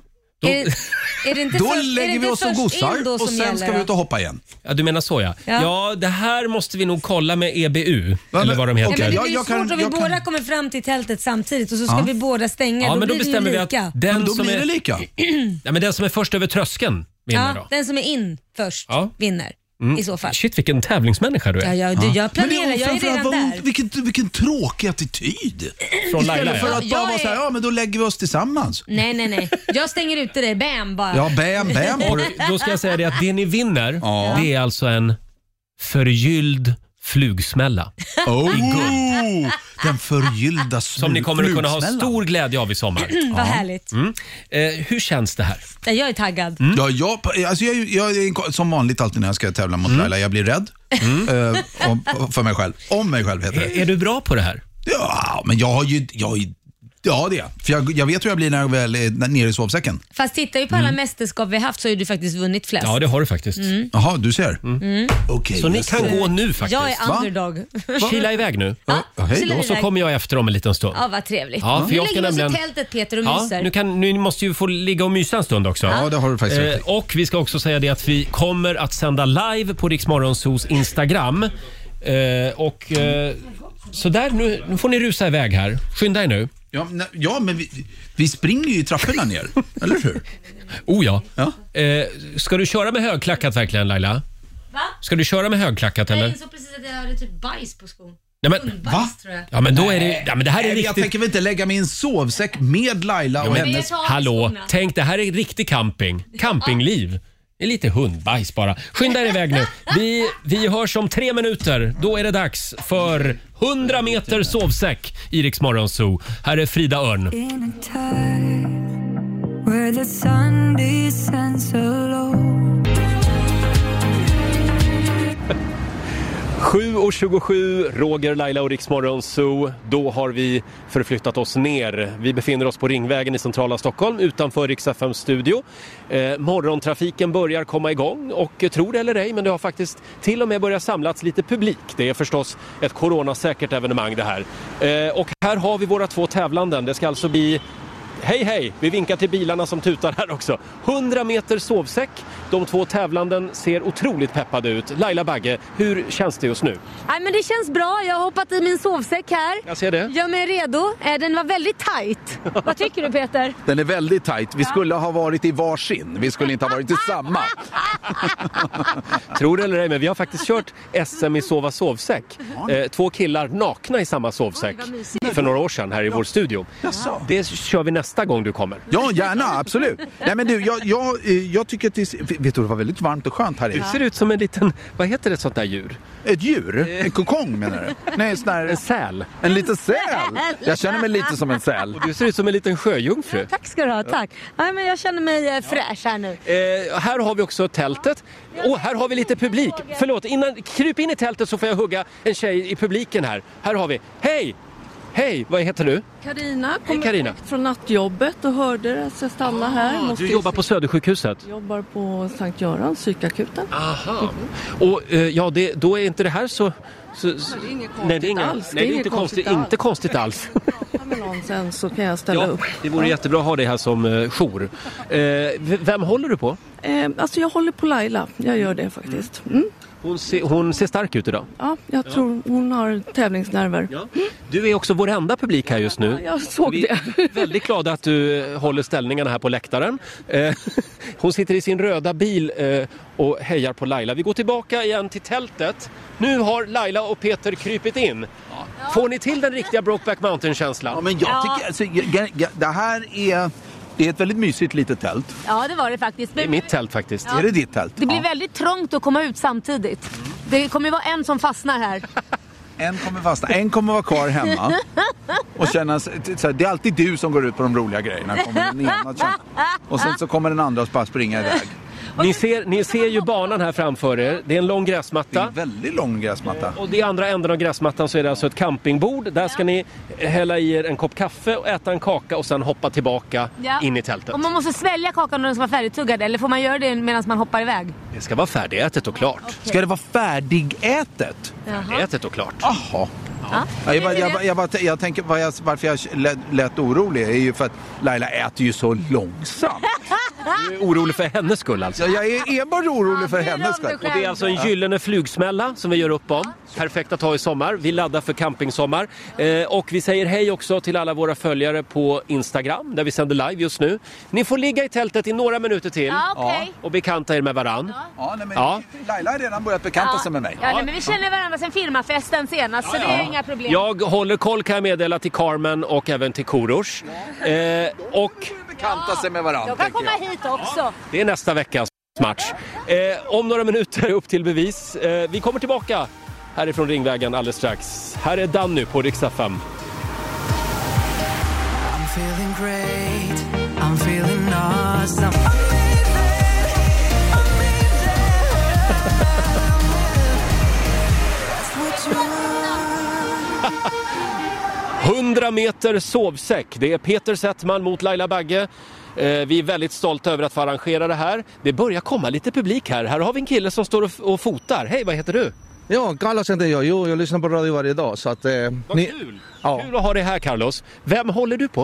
Då- Är, det- är det inte Då först- är det lägger vi inte oss och först in gosar då och som sen gäller, ska vi ut och hoppa igen. Ja, du menar så ja. ja. Ja. det här måste vi nog kolla med EBU. Va, eller men- vad de heter. Nej, men det Jag- blir ju jag svårt kan- om vi jag kan- båda kommer fram till tältet samtidigt och så ska Ja. vi båda stänga. Ja, då men då blir det bestämmer ju vi lika. att den, Men då som blir det är, lika. [CLEARS THROAT] ja, men den som är först över tröskeln vinner ja, då. den som är in först Ja. Mm. vinner i så fall. Shit, vilken tävlingsmänniska du Ja, är. ja, du, jag Men det planerar, jag är framförallt redan vad hon- där. Vilken, vilken tråkig attityd. Från Laila Istället för ja. att Ja, bara jag vara så här, är- ja men då lägger vi oss tillsammans. Nej, nej, nej. Jag stänger ute dig. Bam bara. Ja, bam, bam. [LAUGHS] Och Då ska jag säga det att det ni vinner, Ja. det är alltså en förgylld flugsmälla. Oh, den förgyllda smu- Som ni kommer att kunna ha flugsmällan. stor glädje av i sommar. [CLEARS THROAT] Vad härligt. Mm. Eh, hur känns det här? Ja, jag är taggad. Mm. eh, Mm. Ja, jag, alltså jag, jag är en- som vanligt alltid när jag ska tävla mot Laila. Jag blir rädd. Eh, om, för mig själv. Om mig själv heter det. Eh, Är du bra på det här? Ja, men jag har ju... Jag, har ju- ja, det är jag. För jag, jag vet hur jag blir när jag väl är n- nere i sovsäcken. Fast tittar vi på alla mästerskap vi haft så har ju du faktiskt vunnit flest. Mm. Ja, det har du faktiskt. Mm. Jaha, du ser. Okej. Mm. Så ni just kan det. gå nu faktiskt. jag är Va? underdog. [LAUGHS] Kila iväg nu. Ja, Ja, hej kila då. Och så iväg. kommer jag efter om en liten stund. Ja, vad trevligt. Ja, för nu jag ska lägger vi oss nämligen- i tältet Peter och Ja, myser. nu, kan, nu måste ju få ligga och mysa en stund också. Ja, det har du faktiskt rätt i. Eh, och vi ska också säga det att vi kommer att sända live på Riksmorgonsos Instagram. Eh, och eh, så där, nu, nu får ni rusa iväg här. Skynda er nu. Ja, men- ja, men vi, vi springer ju i [LAUGHS] trapporna ner, eller hur? Oh ja. Ja. Eh, ska du köra med högklackat verkligen Laila? Va? Ska du köra med högklackat eller? Jag insåg precis att jag hade typ bajs på skon. Nej, men, Va? Bajs tror jag. ja men då är det, ja, men det här är Nej, jag riktigt... tänker väl inte lägga mig i en sovsäck med Laila och men- Men jag hennes... tar av mig Hallå, skorna. tänk det här är riktig camping. Campingliv. Det är lite hundbajs bara. Skynda er iväg nu. Vi, vi hörs om tre minuter. Då är det dags för 100 meter sovsäck i Rix Morgon Zoo. Här är Frida Örn. In a time where the sun descends alone. 7.27, Roger, Laila och Rix Morgon Zoo. Då har vi förflyttat oss ner. Vi befinner oss på Ringvägen i centrala Stockholm utanför Rix FMs studio. Eh, morgontrafiken börjar komma igång och eh, tro det eller ej, men det har faktiskt till och med börjat samlats lite publik. Det är förstås ett coronasäkert evenemang det här. Eh, och här har vi våra två tävlanden. Det ska alltså bli Hej hej! Vi vinkar till bilarna som tutar här också. 100 meter sovsäck. De två tävlanden ser otroligt peppade ut. Laila Bagge, hur känns det just nu? Nej, men det känns bra. Jag har hoppat i min sovsäck här. Jag ser det. Gör mig redo. Eh, Den var väldigt [LAUGHS] tight. Vad tycker du Peter? Den är väldigt tajt. Vi skulle ha varit i varsin. Vi skulle inte ha varit i samma. [LAUGHS] Tror det eller ej, men vi har faktiskt kört SM i sova sovsäck. Eh, två killar nakna i samma sovsäck för några år sedan här i vår studio. Jaså? Det kör vi nästa gång du kommer. Ja, gärna. Absolut. Nej, men du, jag, jag, eh, jag tycker att det... Vet du, det var väldigt varmt och skönt här Du inne. ser ut som en liten, vad heter ett sånt där djur? Ett djur? En kokong menar du? Nej, en sån här... En säl. En liten säl. Jag känner mig lite som en säl. Du ser ut som en liten sjöjungfru. Tack ska du ha, tack. Nej, men jag känner mig eh, fräsch här nu. Eh, här har vi också tältet. Och här har vi lite publik. Förlåt, innan, kryp in i tältet så får jag hugga en tjej i publiken här. Här har vi. Hej! Hej, vad heter du? Karina Hej, kom Carina. direkt från nattjobbet och hörde att jag stanna här. Måste Du ju- jobbar på Södersjukhuset. jobbar på Sankt Görans psykakuten. Ah, Aha. Och eh, ja, det, då är inte det här så... så, så det är inget nej, det är konstigt inga- alls. Nej, det är inte konstigt, alls. inte konstigt alls. Pratar med någon sen så kan jag [LAUGHS] ställa ja, upp. det vore jättebra att ha dig här som eh, jour. Eh, v- vem håller du på? Eh, alltså jag håller på Laila, jag gör det faktiskt. Mm. Hon, ser- hon ser stark ut idag. Ja, jag tror hon har tävlingsnerver. Du är också vår enda publik här just nu. Jag såg Vi det. är väldigt glada att du eh, håller ställningarna här på läktaren. Eh, [LAUGHS] Hon sitter i sin röda bil eh, och hejar på Laila. Vi går tillbaka igen till tältet. Nu har Laila och Peter krypit in. Får ni till den riktiga Brokeback Mountain-känslan? Ja, men jag tycker... Alltså, jag- jag- jag- det här är... Det är ett väldigt mysigt litet tält. Ja, det var det faktiskt. Det är mitt tält faktiskt. Är det ditt tält? Det blir väldigt trångt att komma ut samtidigt. Det kommer ju vara en som fastnar här. En kommer fastna, en kommer vara kvar hemma och känna sig- t- så här, det är alltid du som går ut på de roliga grejerna. Kommer den ena att känna. Och Ah. sen så kommer den andra att bara springa iväg. Ni ser, ni ser ju banan här framför er. Det är en lång Det är gräsmatta. en väldigt lång gräsmatta. Och i andra änden av gräsmattan så är det alltså ett campingbord. Där ska ni hälla i er en kopp kaffe och äta en kaka och sen hoppa tillbaka [LAUGHS] Ja. in i tältet. Och man måste svälja kakan när den ska vara färdigtuggad eller får man göra det medan man hoppar iväg? Det ska vara färdigätet och klart. Ska det vara färdigätet? Jaha. Färdigätet och klart. Jaha. Ja. Ja, Jag, bara, jag, bara- jag, bara, jag tänker vad jag, varför jag lät, lät orolig är ju för att Laila äter ju så långsamt. Du är orolig för hennes skull alltså. Så jag är enbart orolig för Ja, bryr hennes om dig skull. själv. Det är alltså en gyllene flugsmälla som vi gör upp om. Perfekt att ha i sommar. Vi laddar för campingsommar. Eh, och vi säger hej också till alla våra följare på Instagram där vi sänder live just nu. Ni får ligga i tältet i några minuter till Ja, okej. och bekanta er med varann. Ja, nej, men Ja. Laila har redan börjat bekanta sig med mig. Ja, nej, men vi känner varandra sen firmafesten senast så det är inga problem. Jag håller koll kan jag meddela till Carmen och även till Korosh. Eh, och Bekanta sig med varandra. Jag kan komma tänker hit också. det är nästa veckas match. Eh, om några minuter upp till bevis. Eh, vi kommer tillbaka härifrån Ringvägen alldeles strax. Här är Danny på riksdag [LAUGHS] 5. I'm feeling great, I'm feeling awesome. meter sovsäck. Det är Peter Settman mot Laila Bagge. Eh, vi är väldigt stolta över att få arrangera det här. Det börjar komma lite publik här. Här har vi en kille som står och, och fotar. Hej, vad heter du? Ja, Carlos heter jag. Jo, jag lyssnar på radio varje dag. Så att, eh, Vad ni- kul! Ja. Kul att ha dig här Carlos. Vem håller du på?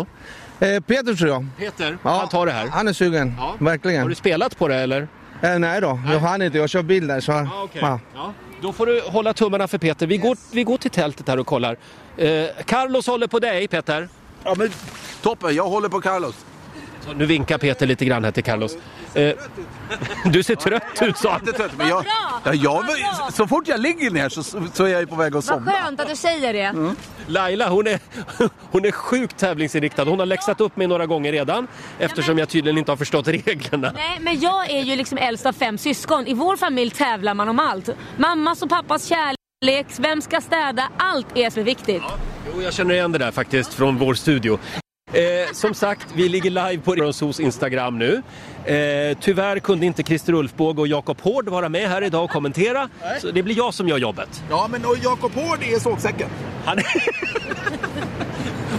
Eh, Peter tror jag. Peter, Ja, han tar det här. Han är sugen, Har verkligen. du spelat på det eller? Eh, nej då, jag hann inte. Jag kör bil där. Så, Ja, Ah, okej. ja. Ja. Då får du hålla tummarna för Peter. Vi, går, vi går till tältet här och kollar. Eh, Carlos håller på dig, Peter. Ja, men, toppen, jag håller på Carlos. Så, nu vinkar Peter lite grann här till Carlos. Eh, [LAUGHS] du ser trött ut, sa han. Inte trött, men jag, ja, jag, så fort jag ligger ner så, så är jag ju på väg att somna. Mm. Skönt att du säger det. Laila, hon är, [LAUGHS] hon är sjukt tävlingsinriktad. Hon har läxat upp mig några gånger redan eftersom jag tydligen inte har förstått reglerna. Nej, men jag är ju liksom äldst av fem syskon. I vår familj tävlar man om allt. Mammas och pappas kärlek, vem ska städa? Allt är så viktigt. Jo, jag känner igen det där faktiskt från vår studio. Eh, som sagt, vi ligger live på Rönsos Instagram nu. Eh, tyvärr kunde inte Christer Ulfbåge och Jakob Hård vara med här idag och kommentera, så det blir jag som gör jobbet. Ja, men och Jakob Hård är sovsäcken. Han [LAUGHS]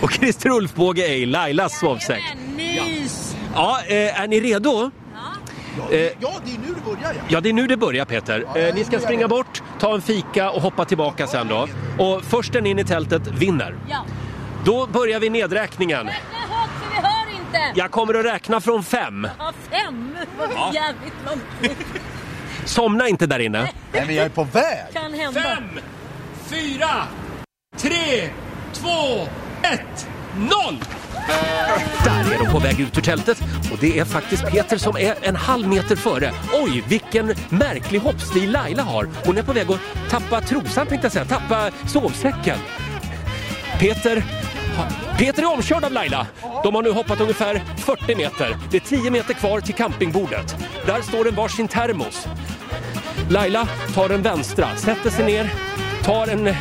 och Christer Ulfbåge är i Lailas sovsäck. Mys! Ja, eh, är ni redo? Eh, Ja, det är nu det börjar. Ja. Ja, det är nu det börjar Peter. Eh, ni ska springa bort, ta en fika och hoppa tillbaka sen då. Och först den in i tältet vinner. Ja. Då börjar vi nedräkningen. Räkna högt för vi hör inte! Jag kommer att räkna från fem. Ja, fem! Ja. Jävligt långt. Somna inte där inne. Nej, men jag är på väg. Kan hända. fyra, tre, två, ett, noll! Där är de på väg ut ur tältet och det är faktiskt Peter som är en halv meter före. Oj, vilken märklig hoppstil Laila har. Hon är på väg att tappa trosan tänkte jag säga, tappa sovsäcken. Peter, Peter är omkörd av Laila. De har nu hoppat ungefär 40 meter. Det är 10 meter kvar till campingbordet. Där står en varsin termos. Laila tar den vänstra, sätter sig ner, tar en, eh,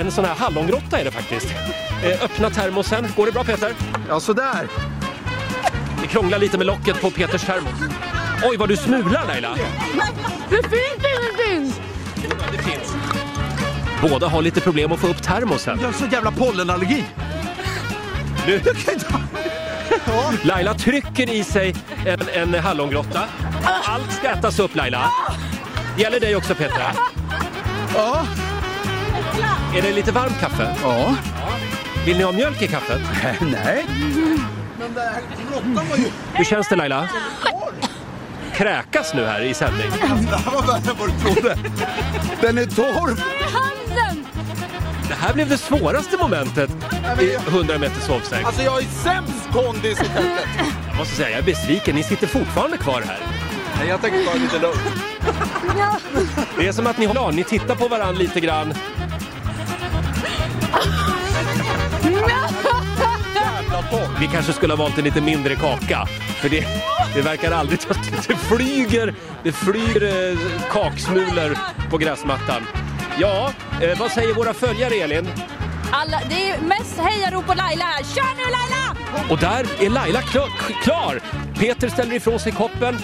en sån här hallongrotta är det faktiskt. Eh, Öppna termosen. Går det bra Peter? Ja, sådär. Det krånglar lite med locket på Peters termos. Oj, vad du smular Laila! Det finns ingenting! Det finns. Båda har lite problem att få upp termosen. Jag har så jävla pollenallergi. Nu. Jag kan inte... Ja. Laila trycker i sig en, en hallongrotta. Allt ska ätas upp Laila. Gäller dig också Petra. Ja. Är det lite varmt kaffe? ja. Vill ni ha mjölk i kaffet? [LAUGHS] Nej. Men den här råttan var ju... Hur känns det Laila? Kräkas nu här i sändning. [LAUGHS] Det här var värre än vad du trodde. Den är torr. Handen! Det här blev det svåraste momentet i 100 meter sovsäck. Alltså jag är sämst kondis i tältet. Jag måste säga, jag är besviken. Ni sitter fortfarande kvar här. Nej, jag tänker ta det lite lugnt. [LAUGHS] Det är som att ni har ni tittar på varandra lite grann. Vi kanske skulle ha valt en lite mindre kaka. För det, det verkar aldrig [LAUGHS] ta slut. Det flyger, det flyger eh, kaksmulor på gräsmattan. Ja, eh, vad säger våra följare Elin? Alla, det är mest hejarop på Laila här. Kör nu Laila! Och där är Laila kla- klar. Peter ställer ifrån sig koppen,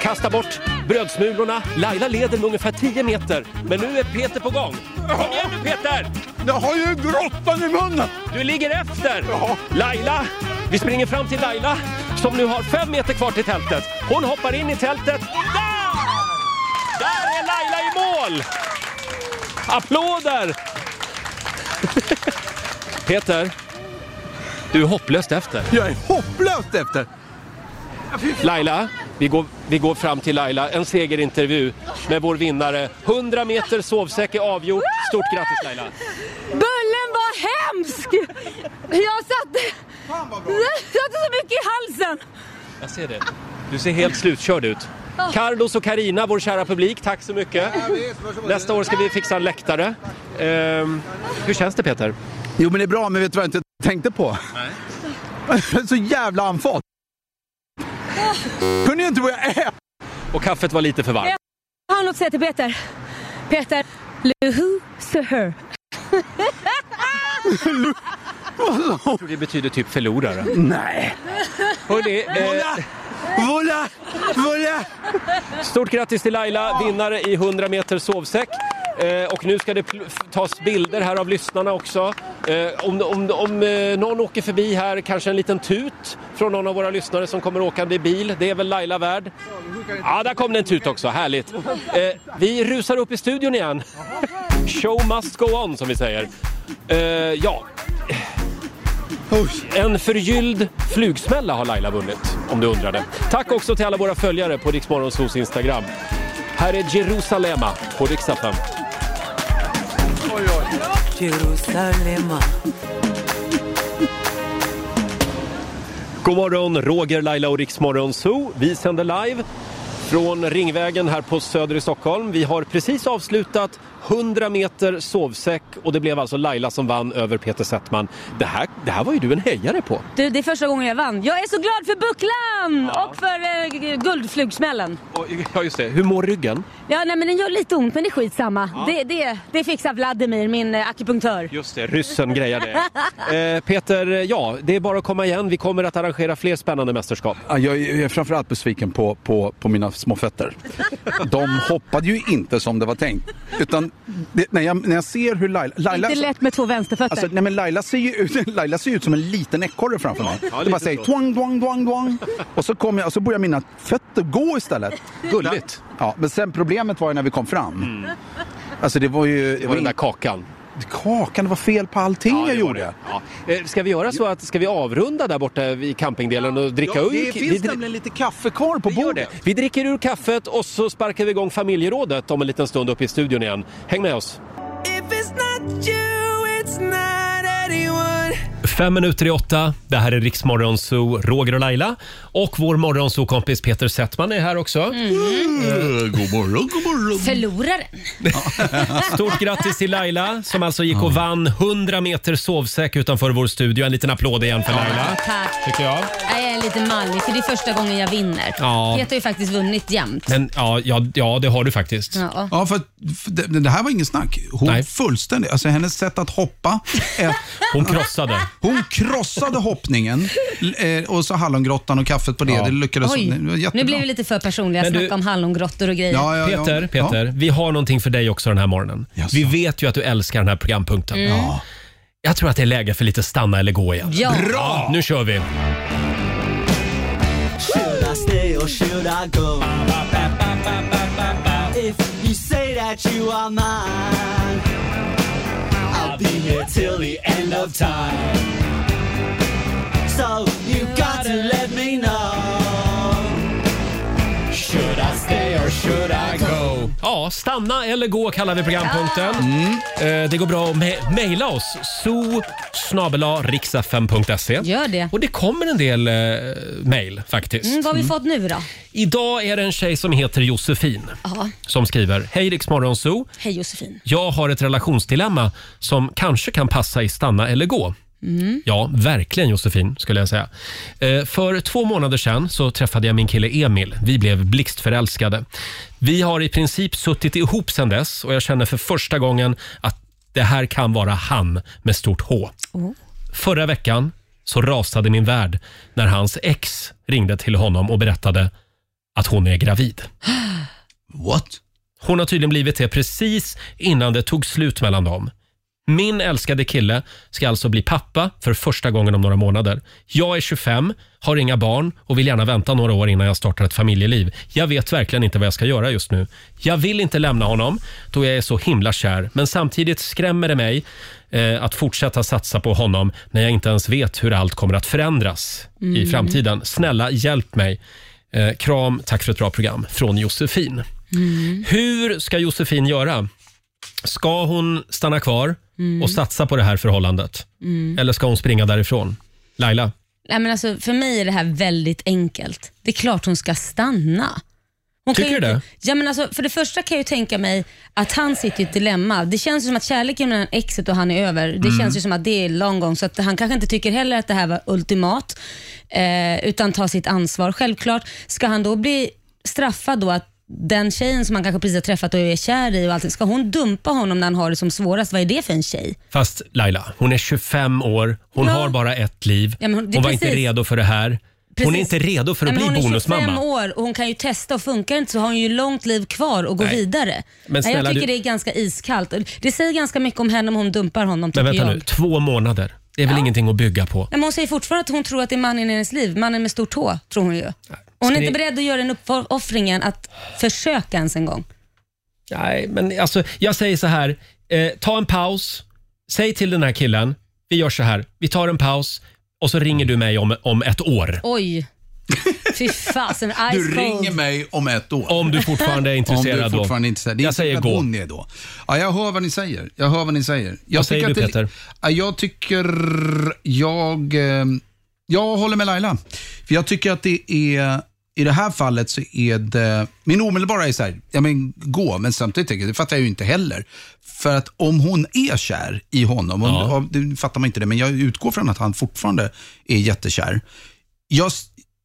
kastar bort brödsmulorna. Laila leder med ungefär 10 meter. Men nu är Peter på gång. Kom igen nu Peter! Jag har ju grottan i munnen. Du ligger efter! Laila, vi springer fram till Laila som nu har fem meter kvar till tältet. Hon hoppar in i tältet. Där! Där är Laila i mål! Applåder! [LAUGHS] Peter, du är hopplöst efter. Jag är hopplöst efter. Laila, vi går, vi går fram till Laila. En segerintervju med vår vinnare. 100 meter sovsäck är avgjort. Stort grattis Laila! Bullen var hemsk! Jag satte... Jag satte så mycket i halsen! Jag ser det. Du ser helt slutkörd ut. Carlos och Karina, vår kära publik, tack så mycket. Nästa år ska vi fixa en läktare. Ehm, hur känns det Peter? Jo, men det är bra, men vet du vad jag inte tänkte på? [LAUGHS] Nej. så jävla anfat. Kunde ju inte börja äta. Och kaffet var lite för varmt. Jag har något att säga till Peter. Peter, who to her? [LAUGHS] Jag tror det betyder typ förlorare. Nej. Hörrni, eh, Vola! Vola! stort grattis till Laila, vinnare i 100 meter sovsäck. Eh, och nu ska det pl- f- tas bilder här av lyssnarna också. Eh, om om, om eh, någon åker förbi här, kanske en liten tut från någon av våra lyssnare som kommer åkande i bil. Det är väl Laila värd. Ja, där kom det en tut också. Härligt. Eh, vi rusar upp i studion igen. Show must go on, som vi säger. Eh, ja. En förgylld flugsmälla har Laila vunnit, om du undrade. Tack också till alla våra följare på Rix Morgonzoos Instagram. Här är Jerusalema på Rix FM. Jerusalema. God morgon, Roger, Laila och Riksmorgon Zoo. Vi sänder live från Ringvägen här på Söder i Stockholm. Vi har precis avslutat 100 meter sovsäck och det blev alltså Laila som vann över Peter Settman. Det här, det här var ju du en hejare på. Du, det är första gången jag vann. Jag är så glad för bucklan och för eh, g- guldflugsmällen. Och, ja, just det. Hur mår ryggen? Ja, nej, men den gör lite ont, men det är skitsamma. Ja. Det, det, det fixar Vladimir, min eh, akupunktör. Just det, ryssen grejar [LAUGHS] det. Eh, Peter, ja, det är bara att komma igen. Vi kommer att arrangera fler spännande mästerskap. Ja, Jag är jag är framförallt besviken på, på, på mina små fötter. De hoppade ju inte som det var tänkt. Utan det, när, jag, när jag ser hur Laila... Laila Inte lätt med två vänsterfötter. Alltså, nej men Laila ser ju ut, Laila ser ut som en liten ekorre framför mig. Ja, det bara lite säger så. twang, twang, twang, twang. Och så, kom jag, och så börjar mina fötter gå istället. Gulligt. Ja, men sen problemet var ju när vi kom fram. Alltså det var ju... Det var den där kakan. Kakan, det var fel på allting jag gjorde. Ja. Eh, Ska vi göra så att ska vi avrunda där borta i campingdelen och dricka Ja, ur? det finns nämligen lite kaffe kvar på bordet. Vi dricker ur kaffet och så sparkar vi igång familjerådet om en liten stund upp i studion igen. Häng med oss! If it's not you, it's not anyone. Fem minuter i åtta. Det här är Riksmorgonzoo, Roger och Laila. Och vår morgonzoo-kompis Peter Settman är här också. Eh, God morgon, god morgon. Förloraren. Stort grattis till Laila som alltså gick och vann 100 meter sovsäck utanför vår studio. En liten applåd igen för Laila, Tack. tycker jag. Jag är lite mallig, för det är första gången jag vinner. Ja. Peter har ju faktiskt vunnit jämt. Men ja, ja, ja, det har du faktiskt. Ja. Ja, för, att- för det, det här var ingen snack. Hon fullständigt, alltså hennes sätt att hoppa. hon krossade. Hon krossade hoppningen l- eh, och så hallongrottan och kaffet på det. Det lyckades Oj, det var jättebra. nu blev vi lite för personliga. Men du- Snacka om hallongrottor och grejer. Peter, Peter vi har någonting för dig också den här morgonen. Vi vet ju att du älskar den här programpunkten. Mm. Ja. Jag tror att det är läge för lite stanna eller gå igen. Ja. Bra! nu kör vi! Should I stay or should I go? If you say that you are mine, I'll be here till the end of time. So you got to let me know. Should I stay or should I go? Ja, stanna eller gå kallar vi programpunkten. Eh, det går bra att me- mejla oss. so Gör det. Och det kommer en del eh, mejl faktiskt. Mm, vad har vi Mm. fått nu då? Idag är det en tjej som heter Josefin Ja. som skriver Hej Rix Morgonzoo. Hej Josefin. Jag har ett relationsdilemma som kanske kan passa i stanna eller gå. Mm. Ja, verkligen Josefin skulle jag säga. Eh, För två månader sedan så träffade jag min kille Emil. Vi blev blixtförälskade. Vi har i princip suttit ihop sedan dess och jag känner för första gången att det här kan vara han med stort H. Förra veckan så rasade min värld när hans ex ringde till honom och berättade att hon är gravid. What? Hon har tydligen blivit det precis innan det tog slut mellan dem. Min älskade kille ska alltså bli pappa för första gången om några månader. Jag är 25, har inga barn och vill gärna vänta några år innan jag startar ett familjeliv. Jag vet verkligen inte vad jag ska göra just nu. Jag vill inte lämna honom då jag är så himla kär, men samtidigt skrämmer det mig eh, att fortsätta satsa på honom när jag inte ens vet hur allt kommer att förändras i Mm. framtiden. Snälla, hjälp mig. Eh, kram, tack för ett bra program. Från Josefin. Mm. Hur ska Josefin göra? Ska hon stanna kvar Mm. och satsa på det här förhållandet? Mm. Eller ska hon springa därifrån? Laila? Nej, men alltså, för mig är det här väldigt enkelt. Det är klart hon ska stanna. Hon kan Tycker ju du inte- det? Ja, men alltså, för det första kan jag ju tänka mig att han sitter i ett dilemma. Det känns ju som att kärleken mellan exet och han är över. Det Mm. känns ju som att det är lång gång, så att han kanske inte tycker heller att det här var ultimat, eh, utan tar sitt ansvar. Självklart, ska han då bli straffad då att den tjejen som han kanske precis har träffat och är kär i och allting, ska hon dumpa honom när han har det som svårast? Vad är det för en tjej? Fast Laila, hon är 25 år, hon Ja. har bara ett liv. Ja, men hon- det hon är var precis. inte redo för det här. Hon är Precis. inte redo för att Nej, men bli Hon är 25 bonusmamma. år och hon kan ju testa och funkar det inte så har hon ju långt liv kvar att gå Nej. vidare. Men Nej, snälla, jag tycker du- det är ganska iskallt. Och Det säger ganska mycket om henne om hon dumpar honom tycker Men vänta jag. nu, två månader. Det är väl ingenting att bygga på? Nej, Men hon säger fortfarande att hon tror att det är mannen i hennes liv, mannen med stor tå, tror hon ju. Och hon är Ska inte ni- beredd att göra den uppoffringen att försöka ens en gång. Nej, men alltså, jag säger så här. Eh, ta en paus. Säg till den här killen. Vi gör så här. Vi tar en paus och så ringer du mig om, om ett år. Oj. [LAUGHS] Fy fasen, ice Du ringer cold. mig om ett år. Om du fortfarande är intresserad Om du då. fortfarande är intresserad. Det är Jag inte säger att gå. hon är då. Ja, jag hör vad ni säger. Jag hör vad ni säger. Jag Vad säger tycker du, att det- Peter? Ja, Jag tycker... Jag, eh, jag håller med Laila. För jag tycker att det är... I det här fallet så är det... Min omedelbara är så här, ja men gå, men samtidigt tänker jag, det fattar jag ju inte heller. För att om hon är kär i honom, och, ja. nu fattar man inte det, men jag utgår från att han fortfarande är jättekär. Jag,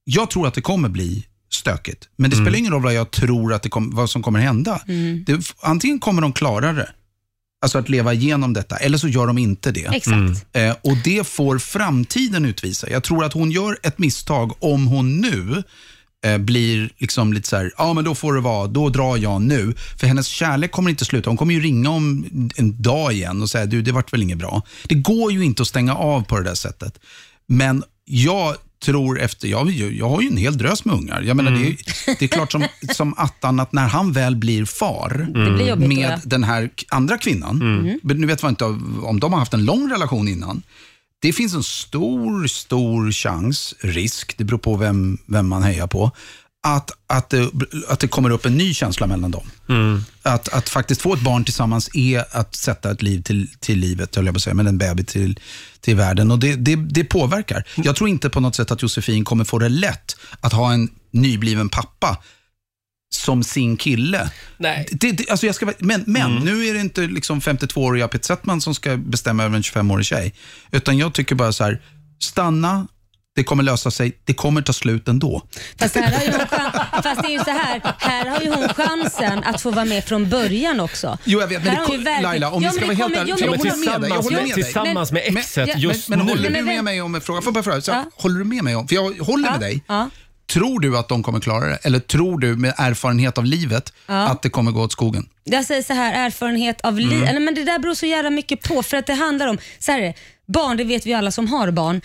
jag tror att det kommer bli stökigt, men det Mm. spelar ingen roll vad jag tror att det kom, vad som kommer hända. Mm. Det, antingen kommer de klara det, alltså att leva igenom detta, eller så gör de inte det. Exakt. Eh, och det får framtiden utvisa. Jag tror att hon gör ett misstag om hon nu eh, blir liksom lite så här, ja men då får det vara, då drar jag nu. För hennes kärlek kommer inte sluta. Hon kommer ju ringa om en dag igen och säga, du det vart väl inget bra. Det går ju inte att stänga av på det där sättet. Men jag tror efter, jag, jag har ju en hel drös med ungar. Jag menar, det, är, ju- det är klart som, som attan att när han väl blir far Det blir jobbigt då, med ja. den här k- andra kvinnan, Mm. men nu vet man inte om de har haft en lång relation innan. Det finns en stor, stor chans, risk, det beror på vem, vem man hejar på, att, att, det, att det kommer upp en ny känsla mellan dem. Att, att faktiskt få ett barn tillsammans är att sätta ett liv till, till livet, höll jag på att säga, men en bebis till, till världen. Och det, det, det påverkar. Jag tror inte på något sätt att Josefin kommer få det lätt att ha en nybliven pappa som sin kille. Nej. Det, det, alltså jag ska, vara- men men nu är det inte liksom 52-åriga Pete Settman som ska bestämma över en 25-årig tjej. Utan jag tycker bara så här, stanna, det kommer lösa sig, det kommer ta slut ändå. Fast, här har ju hon chan- Fast det är ju så här, här har ju hon chansen att få vara med från början också. Jo, jag vet, men Här det har hon ju kom- verkligen- Laila, om vi Ja, ska men vara det helt kommer- ärliga- jo, men Jag håller hon- med dig, jag håller med dig. Tillsammans med exet men, just men, men nu. håller Nej, du men med vä- mig om en fråga? Får jag bara fråga, så här, Ja. håller du med mig om, för jag håller Ja, med dig. ja. Tror du att de kommer klara det? Eller tror du med erfarenhet av livet Ja. att det kommer gå åt skogen? Jag säger så här, erfarenhet av liv. Mm. Nej, men Det där beror så jävla mycket på. För att det handlar om, så här är det, barn, det vet vi alla som har barn.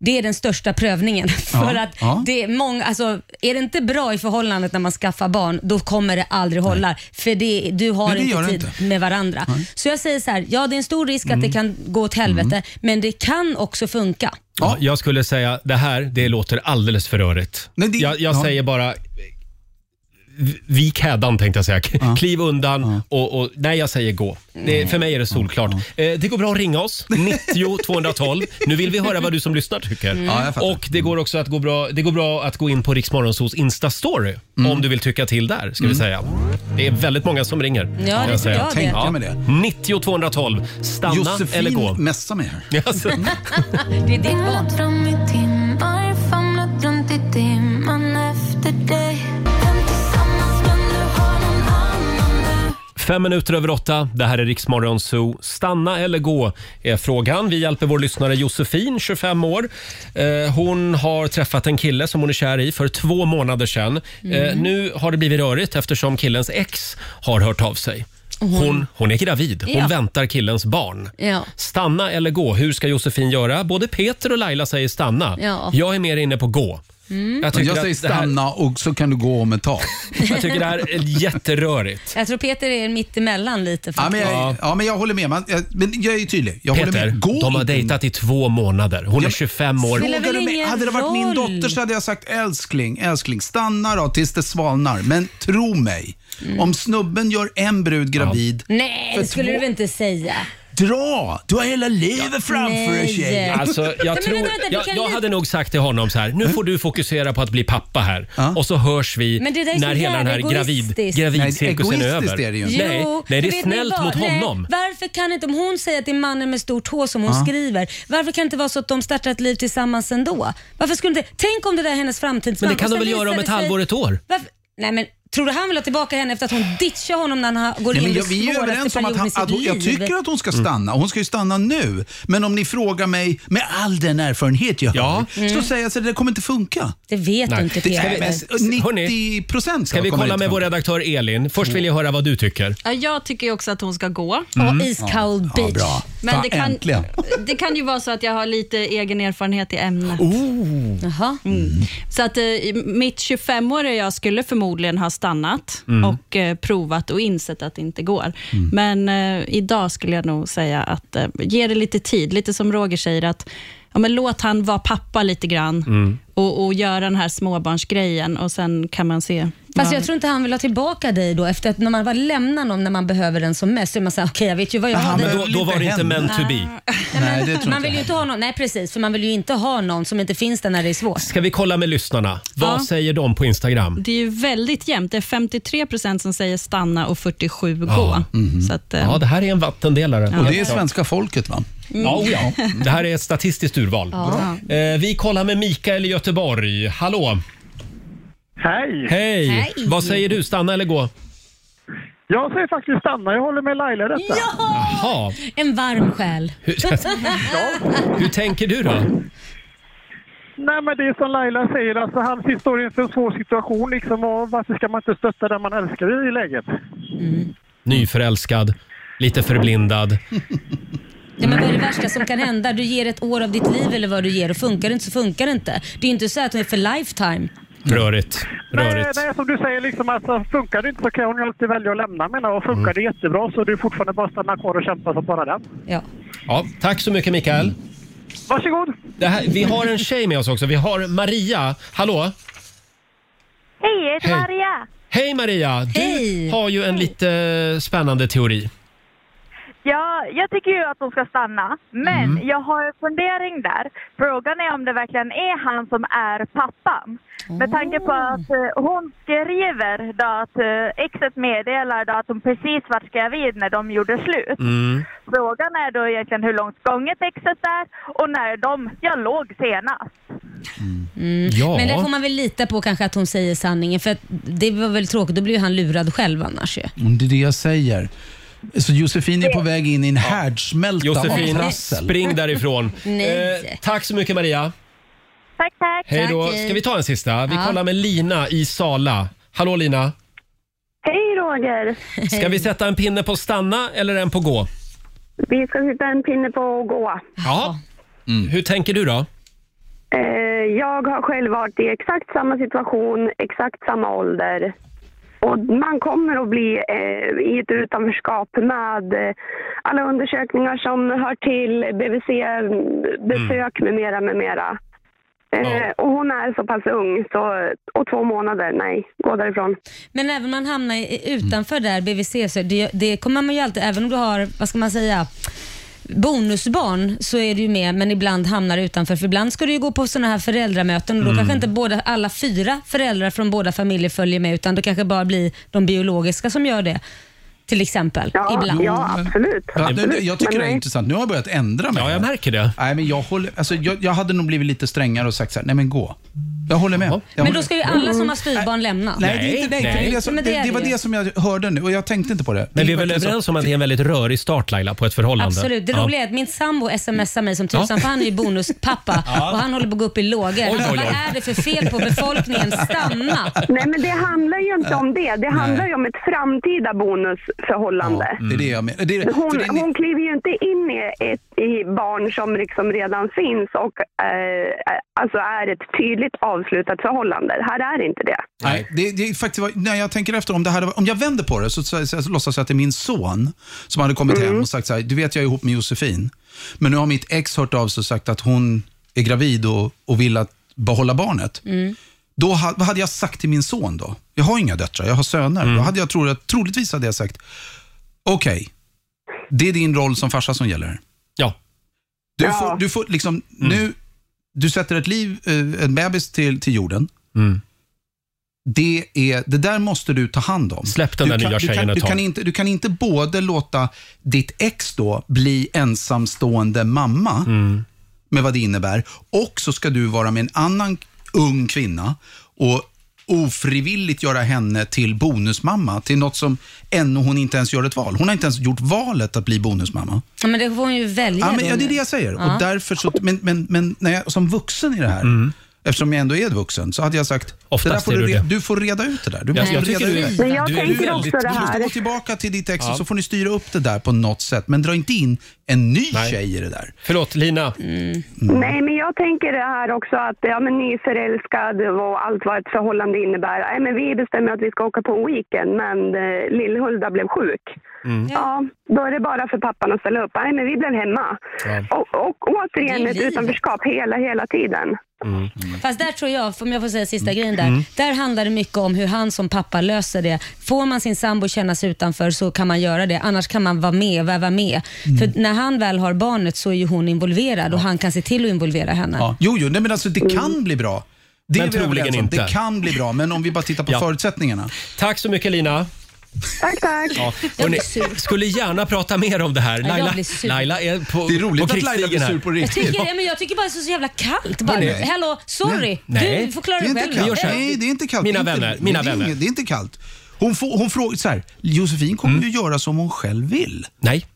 Det är den största prövningen. [LAUGHS] För att ja. Det är, många, alltså, är det inte bra i förhållandet när man skaffar barn, då kommer det aldrig hålla. För det, du har Nej, det gör inte det tid inte. med varandra. Så jag säger så här, ja det är en stor risk att det kan gå åt helvete, men det kan också funka. Ja, jag skulle säga det här, det låter alldeles för rörigt. jag jag ja. säger bara... v- Vik hädan tänkte jag säga. K- Kliv undan och, och... Nej, jag säger gå. Mm. Det, för mig är det solklart. Eh, Det går bra att ringa [LAUGHS] oss, 90 212. Nu vill vi höra vad du som lyssnar tycker. Mm. Ja, jag fattar. och det går också att gå bra, det går bra att gå in på Riksmorgonsos Insta-story Mm. om du vill tycka till där, ska vi säga. Det är väldigt många som ringer. kan det jag tror säga. jag det. Tänka med det. 90 212. Stanna Josefin eller gå. messa mig här. [LAUGHS] Yes. Det är ditt barn. fram i timmar, famlat runt i dimman efter dig. Fem minuter över åtta. Det här är Riksmorgon Zoo. Stanna eller gå är frågan. Vi hjälper vår lyssnare Josefin, 25 år. Eh, Hon har träffat en kille som hon är kär i för två månader sedan. Mm. Eh, Nu har det blivit rörigt eftersom killens ex har hört av sig. Och hon- Hon, hon är gravid. Hon Ja. väntar killens barn. Ja. Stanna eller gå? Hur ska Josefin göra? Både Peter och Laila säger stanna. Ja. Jag är mer inne på gå. Mm. Jag Jag, tycker jag att säger det här- stanna och så kan du gå om ett tag. Jag tycker det här är jätterörigt. Jag tror Peter är mitt emellan lite. [LAUGHS] Ja, men faktiskt. jag, ja, men jag håller med. Man, jag, men jag är tydlig. Jag håller Peter, med. Gå de har inte. dejtat i två månader. Hon är 25 år. Frågar du mig, hade det varit min dotter så hade jag sagt älskling, älskling, stanna då tills det svalnar. Men tro mig, Mm. om snubben gör en brud gravid, Nej, För det skulle två- du väl inte säga? dra! Du har hela livet framför dig Nej. tjej. Alltså, Men jag, vänta, tror, vänta, du jag, kan jag li- hade nog sagt till honom så här, nu får du fokusera på att bli pappa här och så hörs vi Men det där är så när hela den här jävla gravid, egoistiskt. gravidcirkusen är Nej, över. egoistiskt är det ju Jo, Nej, nej, det men är vet ni snällt vad? mot Nej, honom. Varför kan inte, om hon säger att det är mannen med stor tå som hon Ja. skriver, varför kan det inte vara så att de startar ett liv tillsammans ändå? Varför skulle inte, tänk om det där är hennes framtidsman. Men det kan och de sen väl göra visar om det ett sig- halvår, ett år? Varför, nej men Tror du han vill ha tillbaka henne efter att hon ditchar honom när han går Nej, in men i jag, den vi är ju överens svåraste om att, perioden han, i sitt att hon, jag liv? Mm. tycker att hon ska stanna. Hon ska ju stanna nu. Men om ni frågar mig, med all den erfarenhet jag har, så Mm. säger jag att det kommer inte funka. Det vet Nej. inte Det- Peter. Nej, men s- 90 procent Ska vi kolla med vår redaktör Elin? Först vill jag höra vad du tycker. Ja, jag tycker ju också att hon ska gå. Mm. Ja, iskall ja, beach. bra. Men Fan, det, kan, äntligen. det kan ju vara så att jag har lite egen erfarenhet i ämnet. Oh. Oh. Jaha. Så att eh, mitt 25-åriga jag skulle förmodligen ha stannat Mm. och eh, provat och insett att det inte går. Men eh, idag skulle jag nog säga att eh, ge det lite tid. Lite som Roger säger, att ja, men låt han vara pappa lite grann och, och göra den här småbarnsgrejen och sen kan man se. Fast vad- jag tror inte han vill ha tillbaka dig då efter att när man väl lämnar någon när man behöver den som mest så är man såhär, okej jag vet ju vad jag Ja, har men dig." då, då var det inte meant to be. Nej, Man vill ju inte ha någon, nej precis, för man vill ju inte ha någon som inte finns där när det är svårt. Ska vi kolla med lyssnarna? Vad Ja. säger de på Instagram? Det är ju väldigt jämnt. Det är 53 procent som säger stanna och 47 gå. Ja. Mhm. Så att, eh, Ja, det här är en vattendelare. Ja. Och det är svenska folket va? Mm. Ja, oh ja, det här är ett statistiskt urval. Ja. Eh, vi kollar med Mikael i Göteborg. Hallå! Hej! Hej! Hej. Vad säger du, stanna eller gå? Jag säger faktiskt stanna. Jag håller med Laila i detta. Jaha, En varm själ. hur, hur tänker du då? Nej, men det är som Laila säger, alltså, han står inför en svår situation. Liksom, och varför ska man inte stötta den man älskar i läget? Nyförälskad, lite förblindad. Ja, men vad är det värsta som kan hända? Du ger ett år av ditt liv eller vad du ger och funkar det inte så funkar det inte. Det är ju inte så att det är för lifetime. Rörigt. Nej, Rörigt. nej, som du säger, liksom, alltså, funkar det inte så kan hon ju alltid välja att lämna. Menar, jag. och funkar det jättebra så är det fortfarande bara att stanna kvar och kämpa som bara den. Ja. Ja, tack så mycket Mikael. Varsågod. Det här, vi har en tjej med oss också. Vi har Maria. Hallå! Hej, jag heter Hej. Maria. Hej Maria! Du har ju en lite spännande teori. Ja, jag tycker ju att hon ska stanna, men Mm. jag har en fundering där. Frågan är om det verkligen är han som är pappan. Med tanke på Oh. att eh, hon skriver då att eh, exet meddelar då att hon precis var gravid när de gjorde slut. Mm. Frågan är då egentligen hur långt gånget exet är och när de, jag låg senast. Mm. Ja. Men det får man väl lita på kanske att hon säger sanningen för att det var väl tråkigt, då blir ju han lurad själv annars ju. Mm, Det är det jag säger. Så Josefin är på väg in i en härdsmälta av Josefin, trassel. spring därifrån. [LAUGHS] Nej. Eh, tack så mycket Maria. Tack, tack. Hej då. Ska vi ta en sista? Vi Ja. kollar med Lina i Sala. Hallå Lina! Hej Roger! Ska vi sätta en pinne på stanna eller en på gå? Vi ska sätta en pinne på att gå. Ja. Mm. Hur tänker du då? Eh, Jag har själv varit i exakt samma situation, exakt samma ålder. Och man kommer att bli eh, i ett utanförskap med eh, alla undersökningar som hör till, Mm. BVC-besök med mera, med mera. Eh, och hon är så pass ung, så, och två månader, nej, gå därifrån. Men även om man hamnar i- Mm. utanför där BVC, så det, det kommer man ju alltid, även om du har, vad ska man säga, bonusbarn så är du ju med men ibland hamnar du utanför. För ibland ska du ju gå på sådana här föräldramöten och då Mm. kanske inte båda, alla fyra föräldrar från båda familjer följer med utan det kanske bara blir de biologiska som gör det. Till exempel. ibland. absolut. Mm. Ja, nu, nu, jag tycker det är intressant. Nu har jag börjat ändra mig. Ja, jag märker det. Nej, men jag, håller, alltså, jag, jag hade nog blivit lite strängare och sagt så här, nej men gå. Jag håller med. Jag Men håller då ska ju med. alla som har styrbarn lämna. Nej, det, är inte, nej, det, är det, som, Men det, är det var ju. det som jag hörde nu och jag tänkte inte på det. Men vi är Det väl verkligen så. överens om att det är en väldigt rörig start Laila på ett förhållande? Absolut. Det Ja. roliga är att min sambo smsar mig som Ja. tusan för han är ju bonuspappa [LAUGHS] Ja. och han håller på att gå upp i lågor. oj, oj. Vad är det för fel på befolkningen? Stanna! [LAUGHS] Nej, men det handlar ju inte om det. Det handlar ju om ett framtida bonusförhållande. Det är det jag menar. Det är, för Hon, det är, hon kliver ju inte in i, ett, i barn som liksom redan finns och eh, alltså är ett tydligt avslutat förhållande. Här är inte det. Nej, det, det är faktiskt, vad- när jag tänker efter, om, det hade, varit- om jag vänder på det så, så, så, så låtsas jag att det är min son som hade kommit hem och sagt så här, du vet jag är ihop med Josefin, men nu har mitt ex hört av sig och sagt att hon är gravid och, och vill att behålla barnet. Då, ha- vad hade jag sagt till min son då? Jag har inga döttrar, jag har söner. Då hade jag tro, troligtvis hade jag sagt, okej, det är din roll som farsa som gäller. Ja. Du får, du får liksom, nu, du sätter ett liv, eh, en bebis till, till jorden. Det, är, det där måste du ta hand om. Släpp den där nya du tjejen kan, ett du, tag. kan inte, du kan inte både låta ditt ex då bli ensamstående mamma, Mm. med vad det innebär, och så ska du vara med en annan ung kvinna och ofrivilligt göra henne till bonusmamma, till något som ännu hon inte ens gör ett val. Hon har inte ens gjort valet att bli bonusmamma. Ja, men det får hon ju välja. Ja, men, då ja, det nu. är det jag säger. Ja. Och därför så, men men, men när jag, som vuxen i det här, eftersom jag ändå är vuxen, så hade jag sagt, det där Mm. Oftast får är du, du re- det. du får reda ut det där. Du Jag- måste jag reda tycker du är- ut Men jag du är tänker väldigt- också det Du måste här. gå tillbaka till ditt ex Ja. och så får ni styra upp det där på något sätt. Men dra inte in en ny tjej i det där. Mm. Förlåt, Lina. Nej, men jag tänker det här också att ja, men nyförälskad och allt vad ett förhållande innebär. Nej, men vi bestämmer att vi ska åka på en weekend, men eh, Lill-Hulda blev sjuk. Mm. Ja, då är det bara för pappan att ställa upp. Nej, men vi blev hemma. Och, och återigen Det är ett livet. utanförskap hela, hela tiden. Mm. Fast där tror jag, om jag får säga sista grejen Mm. där, där handlar det mycket om hur han som pappa löser det. Får man sin sambo känna sig utanför så kan man göra det, annars kan man vara med, väva med. Mm. För när han väl har barnet så är ju hon involverad och han kan se till att involvera henne. Ja. Jo, jo, nej, men alltså det kan bli bra. Det Men är vi överens troligen om. inte. Det kan bli bra, men om vi bara tittar på förutsättningarna. Tack så mycket Lina. Tack, tack. Ja. Jag blir Hörrni, sur. skulle gärna prata mer om det här. jag Laila, blir sur. Laila är på Det är roligt på att Laila blir krigsstigen här. sur på Jag tycker, ja, men jag tycker bara det är så jävla kallt. Bara, Nej. Hello, sorry. Nej. Du får klara det är dig inte själv. kallt. Eh, Nej, det är inte kallt. Mina Det är inte- vänner, mina det är vänner. inget- Det är inte kallt. Hon, får, hon frågar så här, Josefin kommer ju göra som hon själv vill. Mm. Nej.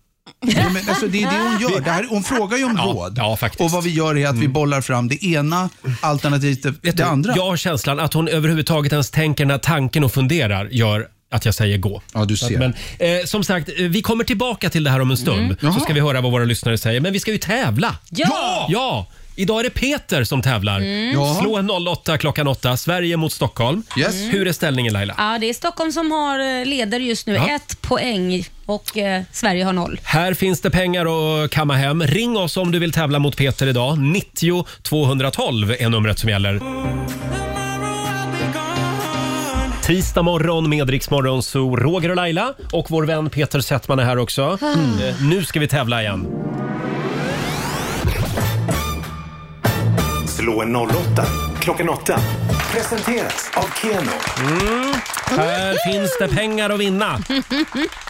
men alltså det är det hon gör. Det här, hon frågar ju om råd. Och vad vi gör är att vi bollar fram det ena alternativet det Mm. Vet du, andra. Eh, Jag har känslan att hon överhuvudtaget ens tänker när tanken och funderar gör att jag säger gå. Ja, du ser. Men, eh, som sagt, eh, vi kommer tillbaka till det här om en stund. Så ska vi höra vad våra lyssnare säger. Men vi ska ju tävla! Ja! Ja! Idag är det Peter som tävlar. Mm. Ja. Slå en 08 klockan 8. Sverige mot Stockholm. Yes. Mm. Hur är ställningen Laila? Ja, det är Stockholm som har eh, leder just nu. Ja. Ett poäng och eh, Sverige har noll. Här finns det pengar att kamma hem. Ring oss om du vill tävla mot Peter idag. 90 212 är numret som gäller. Tisdag morgon med Rix Morgon, så Roger och Laila och vår vän Peter Settman är här också. Mm. Eh, Nu ska vi tävla igen. Slå en 08 klockan 8. Presenteras av Keno. Mm. Här finns det pengar att vinna.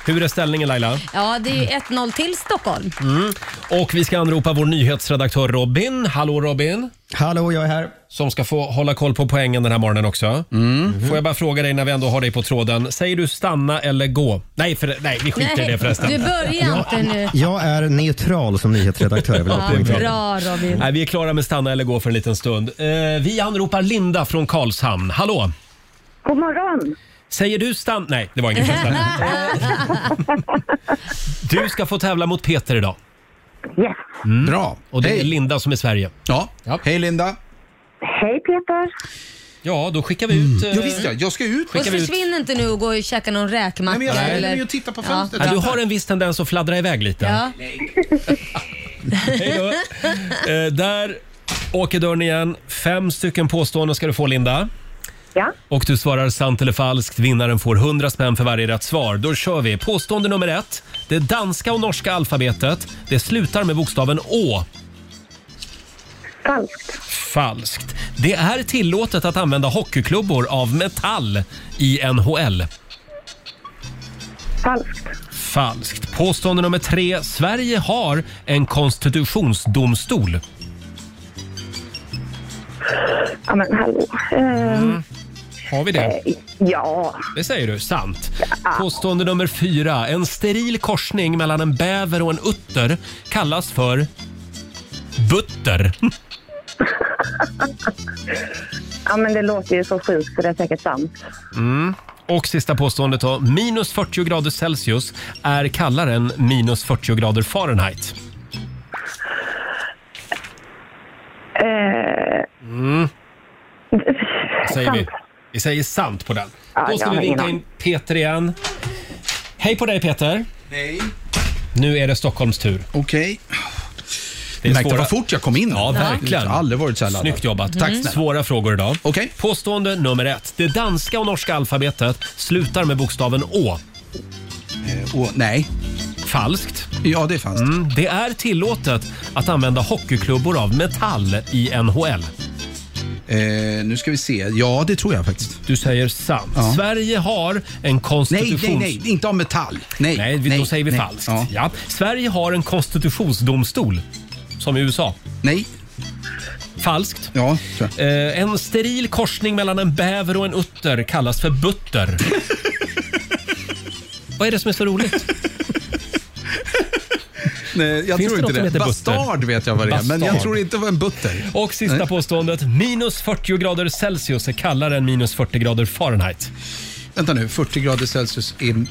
Hur är ställningen Laila? Ja, det är ju 1-0 till Stockholm. Mm. Och vi ska anropa vår nyhetsredaktör Robin. Hallå Robin! Hallå, jag är här. Som ska få hålla koll på poängen den här morgonen också. Mm. Får jag bara fråga dig när vi ändå har dig på tråden. Säger du stanna eller gå? Nej, för, nej vi skiter i det förresten. Du börjar inte nu. Jag är neutral som nyhetsredaktör. Vill jag Ja, det är poängtera. Bra Robin. Nej, vi är klara med stanna eller gå för en liten stund. Eh, vi anropar Linda från Karlshamn. Hallå! God morgon! Säger du stanna? Nej, det var ingen förresten. [LAUGHS] Du ska få tävla mot Peter idag. Yes. Bra. Och det är Hej. Linda som är Sverige. Ja. Hej Linda. Hej Peter. Ja, då skickar vi ut... eh, Ja, Mm. visst ja. Jag ska ut. Och Skickar vi ut. försvinn inte nu och gå och käka någon räkmacka. Nej, men jag ställer eller... mig och tittar på Ja, du har en viss tendens att fladdra iväg lite. Ja. Hej då. Eh, där åker dörren igen. Fem stycken påståenden ska du få, Linda. Ja. Och du svarar sant eller falskt. Vinnaren får 100 spänn för varje rätt svar. Då kör vi. Påstående nummer ett. Det danska och norska alfabetet, det slutar med bokstaven Å. Falskt. Falskt. Det är tillåtet att använda hockeyklubbor av metall i NHL. Falskt. Falskt. Påstående nummer tre. Sverige har en konstitutionsdomstol. Ja men hallå. Ehm, Har vi det? Eh, Ja. Det säger du. Sant. Påstående nummer fyra. En steril korsning mellan en bäver och en utter kallas för butter. [LAUGHS] ja men det låter ju så sjukt så det är säkert sant. Mm. Och sista påståendet då. Minus 40 grader Celsius är kallare än minus 40 grader Fahrenheit. Eh, Mm. Mm. Vad säger vi? Sant. Vi säger sant på den. Ja, Då ska jag vi har ingen vinka aning. in Peter igen. Hej på dig Peter. Hej. Nu är det Stockholms tur. Okej. är Märkte svåra- vad fort jag kom in. Ja, verkligen. Jag har aldrig varit så här laddad. Snyggt jobbat. Tack snälla. Svåra frågor idag. Påstående nummer ett. Det danska och norska alfabetet slutar med bokstaven Å. Eh, å nej. Falskt. Ja, det är falskt. Mm, det är tillåtet att använda hockeyklubbor av metall i NHL. Eh, nu ska vi se. Ja, det tror jag faktiskt. Du säger sant. Ja. Sverige har en konstitutions... Nej, nej, nej. Inte av metall. Nej, nej, vi- då nej, säger vi nej. falskt. Ja. Sverige har en konstitutionsdomstol, som i USA. Nej. Falskt. Ja, eh, en steril korsning mellan en bäver och en utter kallas för [LAUGHS] butter. Vad är det som är så roligt? Nej, jag Finns tror det något som inte det. heter Bastard butter? vet jag vad det är, men jag Bastard. tror inte det var en butter. Och sista Nej. påståendet. Minus 40 grader Celsius är kallare än minus 40 grader Fahrenheit. Vänta nu, 40 grader Celsius är,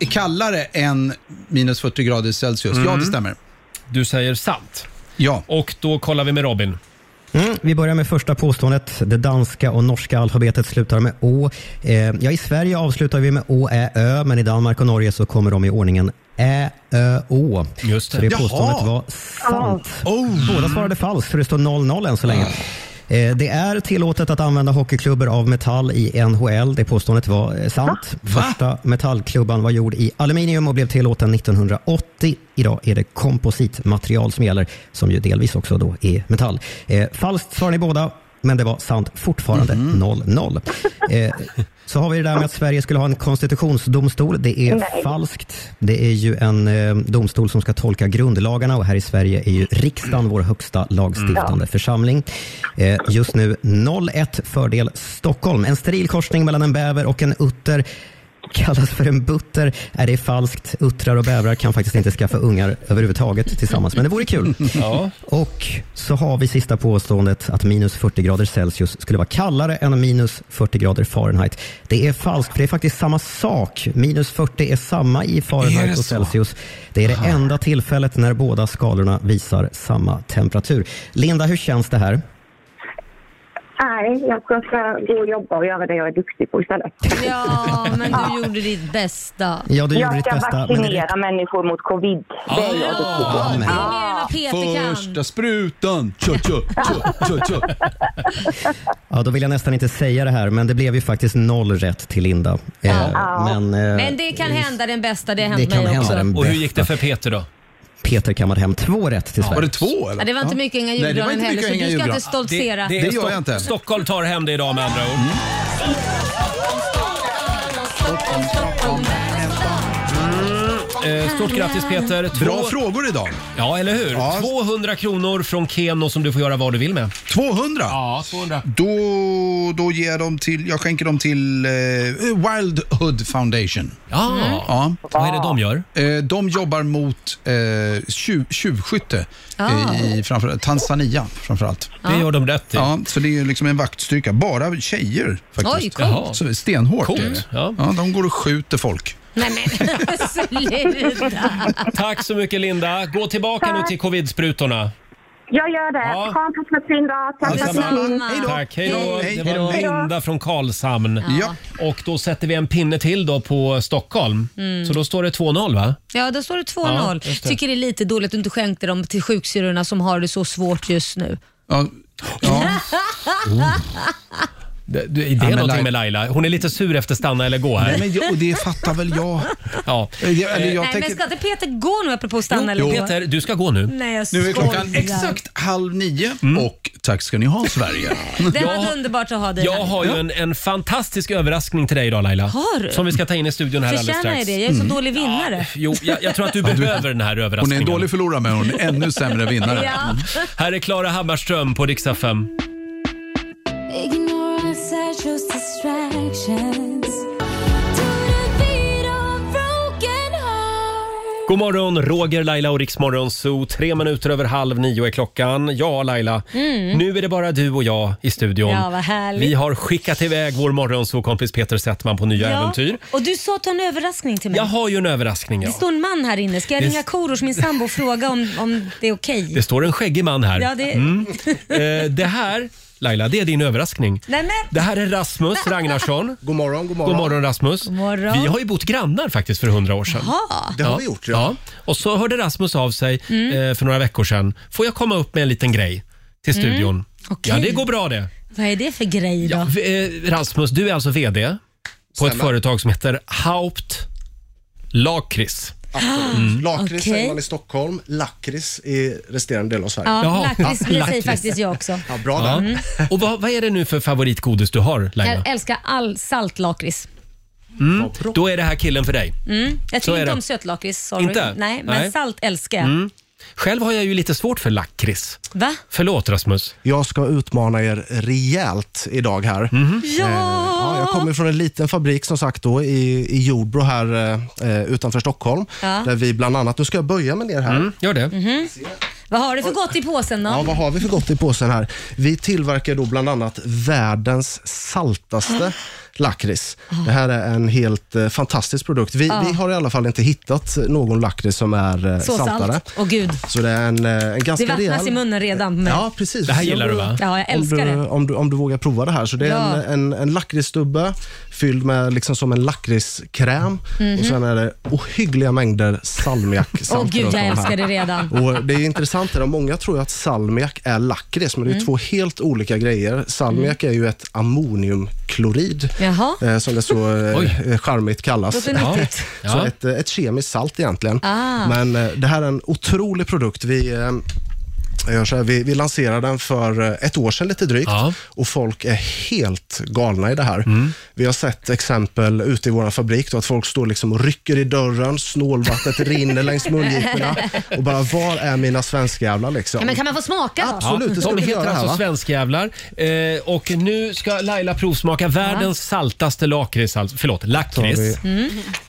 är kallare än minus 40 grader Celsius. Ja, det Mm. stämmer. Du säger sant. Ja. Och då kollar vi med Robin. Mm, vi börjar med första påståendet. Det danska och norska alfabetet slutar med Å. Eh, ja, I Sverige avslutar vi med Å, Ä, Ö, men i Danmark och Norge så kommer de i ordningen Ä, Ö, Å. Just det. Så det Jaha. påståendet var sant. Oh. Båda svarade falskt, så det står 0-0 än så länge. Eh, Det är tillåtet att använda hockeyklubbor av metall i NHL. Det påståendet var eh, sant. Första metallklubban var gjord i aluminium och blev tillåten 1980. Idag är det kompositmaterial som gäller, som ju delvis också då är metall. Eh, Falskt svarade ni båda, men det var sant fortfarande. 0-0. Eh, Så har vi det där med att Sverige skulle ha en konstitutionsdomstol. Det är Nej. falskt. Det är ju en eh, domstol som ska tolka grundlagarna och här i Sverige är ju riksdagen vår högsta lagstiftande Mm. församling. Eh, just nu 0-1 fördel Stockholm. En steril korsning mellan en bäver och en utter kallas för en butter. Är det falskt? Uttrar och bävrar kan faktiskt inte skaffa ungar överhuvudtaget tillsammans, men det vore kul. Ja. Och så har vi sista påståendet att minus 40 grader Celsius skulle vara kallare än minus 40 grader Fahrenheit. Det är falskt, för det är faktiskt samma sak. Minus 40 är samma i Är det Fahrenheit och så? Celsius. Det är det enda tillfället när båda skalorna visar samma temperatur. Linda, hur känns det här? Nej, jag ska, ska gå och jobba och göra det jag är duktig på istället. Ja, men du gjorde ditt bästa. Ja, du jag gjorde ditt ska bästa, men det vaccinera människor mot covid. Det är jag duktig på. men- Ja. Första sprutan! Tjo, tjo, tjo, tjo, [LAUGHS] tjo. Ja, då vill jag nästan inte säga det här, men det blev ju faktiskt noll rätt till Linda. Eh, Men, eh, Men det kan hända den bästa, det har hänt det kan mig hända också. den Och hur bästa. gick det för Peter då? Peter kammade hem två rätt till Sverige. Var det två Ja, det var inte mycket Inga julgranen heller, så du ska inte stoltsera. är Stock- Stockholm tar hem det idag med andra ord. Mm. Eh, Stort grattis Peter. Bra frågor idag. Ja, eller hur? 200 kronor från Keno som du får göra vad du vill med. 200? Ja, 200. Då, då ger jag dem till, jag skänker dem till eh, Wildhood Foundation. Ja. Mm. Vad är det de gör? Eh, de jobbar mot eh, tjuv, tjuvskytte Ah. eh, i framför, Tanzania framförallt. Det gör de rätt i. Ja, så det är liksom en vaktstyrka. Bara tjejer faktiskt. Oj, coolt. Jaha. Så det är stenhårt Coolt, är det. Ja. de går och skjuter folk. Nej men [LAUGHS] sluta. Tack så mycket Linda. Gå tillbaka nu till covid-sprutorna. Jag gör det. Ha en fortsatt dag. Tack för att ni Detsamma. ringde. Tack, hej då. Hej. Det var Hej då. Linda från Karlshamn. Ja. Och då sätter vi en pinne till då på Stockholm. Mm. Så då står det 2-0 va? Ja, då står det Ja, 2-0. just det. Tycker det är lite dåligt att du inte skänkte dem till sjuksyrrorna som har det så svårt just nu. Ja. Det, det är men någonting Laila- med Laila. Hon är lite sur efter stanna eller gå här. Nej, men jag, och det fattar väl jag. Ja. Det- Eh, eller jag Nej, tänker- men ska inte Peter gå nu apropå stanna eller Jo, gå? Peter, du ska gå nu. Mm. Nej, jag Nu är klockan skojar. exakt halv nio och tack ska ni ha [LAUGHS] Sverige. Det var underbart att ha dig Jag här. har ju en, en fantastisk överraskning till dig idag Laila. Har du? Som vi ska ta in i studion här alldeles Förtjänar jag strax. det? Jag är så Mm. dålig vinnare. Jo, jag, jag tror att du behöver den här överraskningen. Hon är en dålig förlorare men hon är ännu sämre vinnare. Mm. Ja. Här är Klara Hammarström på Riksa 5. Ignorance I chose distractions. To the beat of a broken heart. God morgon, Roger, Laila och Riksmorgon Zoo. Tre minuter över halv nio är klockan. Ja, Laila. Mm. Nu är det bara du och jag i studion. Ja, vad härligt. Vi har skickat iväg vår morgonzoo-kompis Peter Settman på nya äventyr. Och du sa att du har en överraskning till mig. Jag har ju en överraskning. Ja. Det står en man här inne. Ska jag Det- ringa Korosh, min sambo, och fråga om, om det är okej? Det står en skäggig man här. Ja, det- Eh, det här, Laila, det är din överraskning. Nej, men... Det här är [LAUGHS] Rasmus Ragnarsson. God morgon, god morgon. God morgon Rasmus. morgon. Vi har ju bott grannar faktiskt för hundra år sedan. Jaha. Det har ja. vi gjort, ja. Och så hörde Rasmus av sig Mm. eh, för några veckor sedan. Får jag komma upp med en liten grej till Mm. studion? Okej. Ja, det går bra det. Vad är det för grej då? Eh, Rasmus, du är alltså VD på ett Stämmer. företag som heter Haupt Lakrits. Absolut. Mm. Lakrits Okej. säger man i Stockholm, lakrits i resterande del av Sverige. Ja, lakrits, det säger lakrits. faktiskt jag också. Ja, bra Ja. där. Mm. Och vad, vad är det nu för favoritgodis du har Laila? Jag älskar all saltlakrits. Mm. Då är det här killen för dig. Mm. Jag Så är tycker inte det. om sötlakrits, sorry. Inte? Nej, men Nej. salt älskar jag. Mm. Själv har jag ju lite svårt för lakrits. Va? Förlåt Rasmus. Jag ska utmana er rejält idag här. Mhm. Eh, Ja! ja! Jag kommer från en liten fabrik som sagt då i, i Jordbro här eh, utanför Stockholm. Ja. Där vi bland annat, nu ska jag böja mig ner här. Mm, gör det. Eh, Mhm. Vad har du för gott i påsen då? Ja, vad har vi för gott i påsen här? Vi tillverkar då bland annat världens saltaste Ah. lakrits. Det här är en helt eh, fantastisk produkt. Vi, Ja. vi har i alla fall inte hittat någon lakrits som är eh, Ah. Så saltare. salt. Åh gud. Så det är en, eh, en Det ganska vattnas rejäl... i munnen redan. men- Ja, precis. Ja, jag älskar om du, det. Om du, om du vågar prova det här. Så det är Ja. en, en, en lakritsstubbe fylld med liksom som en lakritskräm Mhm. och sen är det ohyggliga mängder salmiak. Åh samt gud, runt om jag här. älskar det redan. Och det är intressant det där, många tror ju att salmiak är lakrits, men det är ju Mm. två helt olika grejer. Salmiak är ju ett ammoniumklorid, Jaha. eh, som det så eh, eh, charmigt kallas. Låter nyttigt. Så Ja. Ja. Ett, eh, ett kemiskt salt egentligen. Ah. Men eh, det här är en otrolig produkt. Vi, eh, jag gör så här, vi, vi lanserade den för eh, ett år sedan lite drygt och folk är helt galna i det här. Mm. Vi har sett exempel ute i vår fabrik då, att folk står liksom och rycker i dörren, snålvattnet rinner längs mungiporna och bara var är mina svenskjävlar liksom? Ja, men kan man få smaka då? Absolut, det ska de vi heter göra här, alltså va? svenskjävlar. Eh, och nu ska Laila provsmaka världens saltaste lakrits. Alltså, förlåt, lakrits. Mm.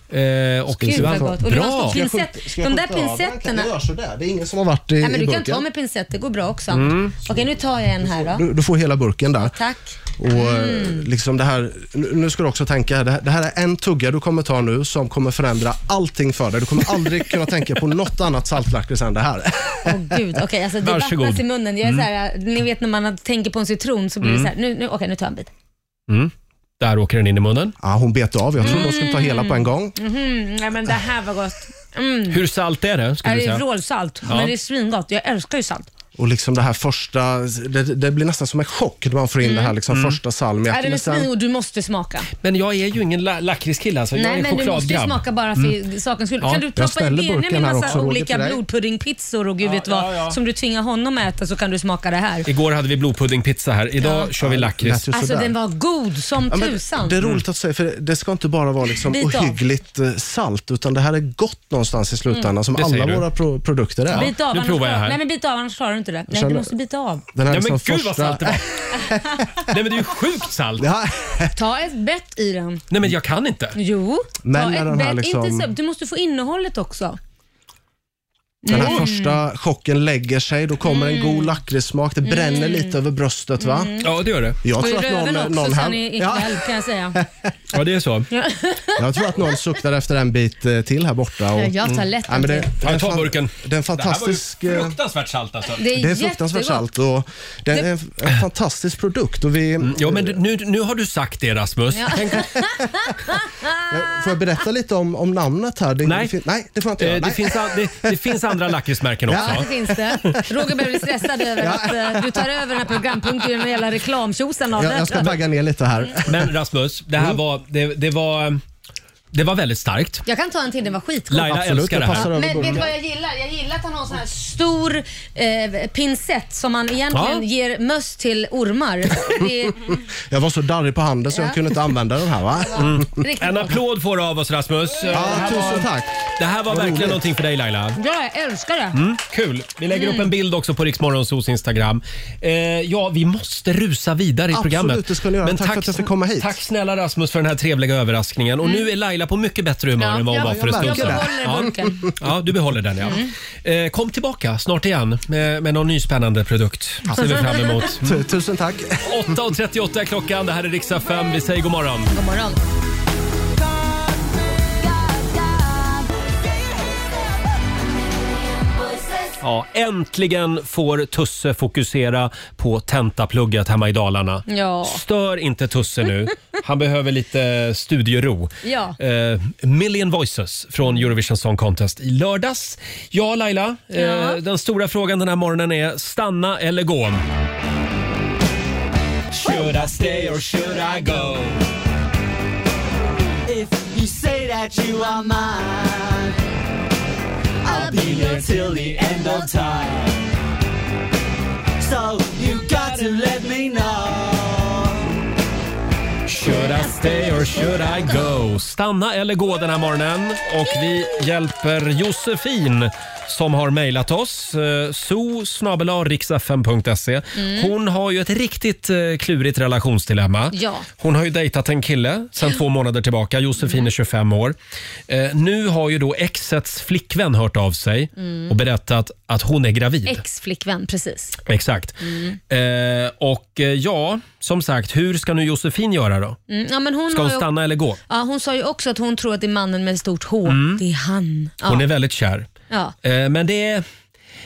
Eh, och Gud vad Bra. gott. Och det var en stor Ska jag pinsett. skjuta- ska jag De där skjuta av den? pincetterna. Jag gör sådär. Det är ingen som har varit i, Nej, men i du kan burken. ta med pincett, det går bra också. Mm. Okej, nu tar jag en här då. Du, du får hela burken där. Tack. Mm. Och eh, liksom det här, nu nu ska du också tänka, det här, det här är en tugga du kommer ta nu som kommer förändra allting för dig. Du kommer aldrig kunna tänka på något annat saltlakrits än det här. Åh gud, okej alltså det Varsågod. vattnas i munnen. Jag är Mm. så här, ni vet när man tänker på en citron så blir det Mm. så här, nu, nu, okej nu tar jag en bit. Mm. Där åker den in i munnen. Mm. Ja, hon bet av. Jag trodde hon skulle ta hela på en gång. Mhm, nej, men det här var gott. Mm. Hur salt är det? Skulle Är du det är säga? vrålsalt, Ja. men det är svingott. Jag älskar ju salt. Och liksom det här första, det, det blir nästan som en chock när man får in Mm. det här liksom första salmiaken. Är det Men är sen- svingod, du måste smaka. Men jag är ju ingen la lakritskille alltså. jag är Nej, men du måste ju chokladgrabb. smaka bara för Mm. sakens skull. Ja, kan du jag proppa i ställer Benjamin burken en här massa också, Roger, olika för dig. blodpuddingpizzor och gud vet vad som du tvingar honom att äta så kan du smaka det här. Igår hade vi blodpuddingpizza här. Idag Ja. kör vi lakrits. Alltså den var god som Ja, men tusan. Det är roligt att säga, för det ska inte bara vara liksom Bit av. ohyggligt eh, salt, utan det här är gott någonstans i slutändan, Mm. som Det säger alla du. våra pro produkter är. Bit av, annars klarar- Nej men bit av annars klarar du inte det. Nej känner- du måste bita av. Den här Ja, men liksom gud vad första- salt det var. [LAUGHS] Nej men det är ju sjukt salt. Ta ett bett i den. Nej men jag kan inte. Jo, Men ta när ett den här bett. liksom- Inte så, du måste få innehållet också. Den här Mm. första chocken lägger sig, då kommer en god lakritssmak, det bränner lite över bröstet va? Mm. Ja det gör det. Jag och i tror att röven någon, också någon sen här, i- ikväll kan jag [LAUGHS] säga. Ja det är så. jag tror att någon suktar efter en bit eh, till här borta. Och, Mm. Ja, jag tar lätt Nej, men en det, till. Ja, det, ta fan- burken. det är en fantastisk... Det här var ju eh, fruktansvärt salt alltså. Det är Det är fruktansvärt jättegott. salt och det är en, en fantastisk produkt. Och vi, Ja Mm, men nu, nu har du sagt det Rasmus. Ja. [LAUGHS] Får jag berätta lite om, om namnet här? Det, nej. Det, fin- nej, det får jag inte Eh, göra. det, Nej. finns, an- det, det finns andra lakritsmärken också. Ja, det finns det. Roger börjar bli stressad över att eh, du tar över den här programpunkten genom hela reklamtjosan av jag, jag ska detta. tagga ner lite här. Mm. Men Rasmus, det här var, det, det var, det var väldigt starkt. Jag kan ta en till, den var skitgod. Laila Absolut, älskar det det här. passar Ja, över Men vet bullen. du vad jag gillar? Jag gillar att han har en sån här stor eh, pincett som man egentligen Ja. ger möss till [LAUGHS] ormar. Det är, [LAUGHS] Jag var så darrig på handen så Ja. jag kunde inte använda den här va? Riktigt Mm. En applåd får du av oss Rasmus. Det här tusen var- tack. Det här var Vad verkligen roligt. någonting för dig Laila. ja, jag älskar det. Mm, kul. Vi lägger upp Mm. en bild också på Riksmorgonsos Instagram. Eh, ja, vi måste rusa vidare i Absolut, programmet. det ska ni göra. Tack för att jag fick komma hit. Tack snälla Rasmus för den här trevliga överraskningen. Och Mm. nu är Laila på mycket bättre humör Ja, än vad hon jag- var för en jag stund sedan. behåller Mm. burken. ja, du behåller den ja. Eh, kom tillbaka snart igen med, med någon ny spännande produkt. Ser vi fram emot. Mm. Tu- Tusen tack. 8.38 är klockan. Det här är Riksdag 5. Vi säger god morgon. God morgon. Ja, äntligen får Tusse fokusera på tentaplugget hemma i Dalarna. Ja. Stör inte Tusse nu. Han behöver lite studiero. Ja. Eh, Million Voices från Eurovision Song Contest i lördags. Ja, Laila. Eh, Ja. Den stora frågan den här morgonen är stanna eller gå? Should I stay or should I go? If you say that you are mine, I'll be there till the end of time. So you got to let me know. Should I stay or should I go? Stanna eller gå den här morgonen. Och vi hjälper Josefin som har mejlat oss. eh, so.riksfm.se Mm. Hon har ju ett riktigt eh, klurigt relationsdilemma. Ja. Hon har ju dejtat en kille sedan två månader tillbaka. Josefin är 25 år. Eh, nu har ju då exets flickvän hört av sig Mm. och berättat att hon är gravid. Ex-flickvän, precis. Exakt. Mm. Eh, och eh, ja, som sagt, hur ska nu Josefin göra då? Mm. Ja, men hon Ska har hon ju- stanna eller gå? Ja, hon sa ju också att hon tror att det är mannen med stort H. Mm. Det är han. Ja. Hon är väldigt kär. ja. Eh, men det är,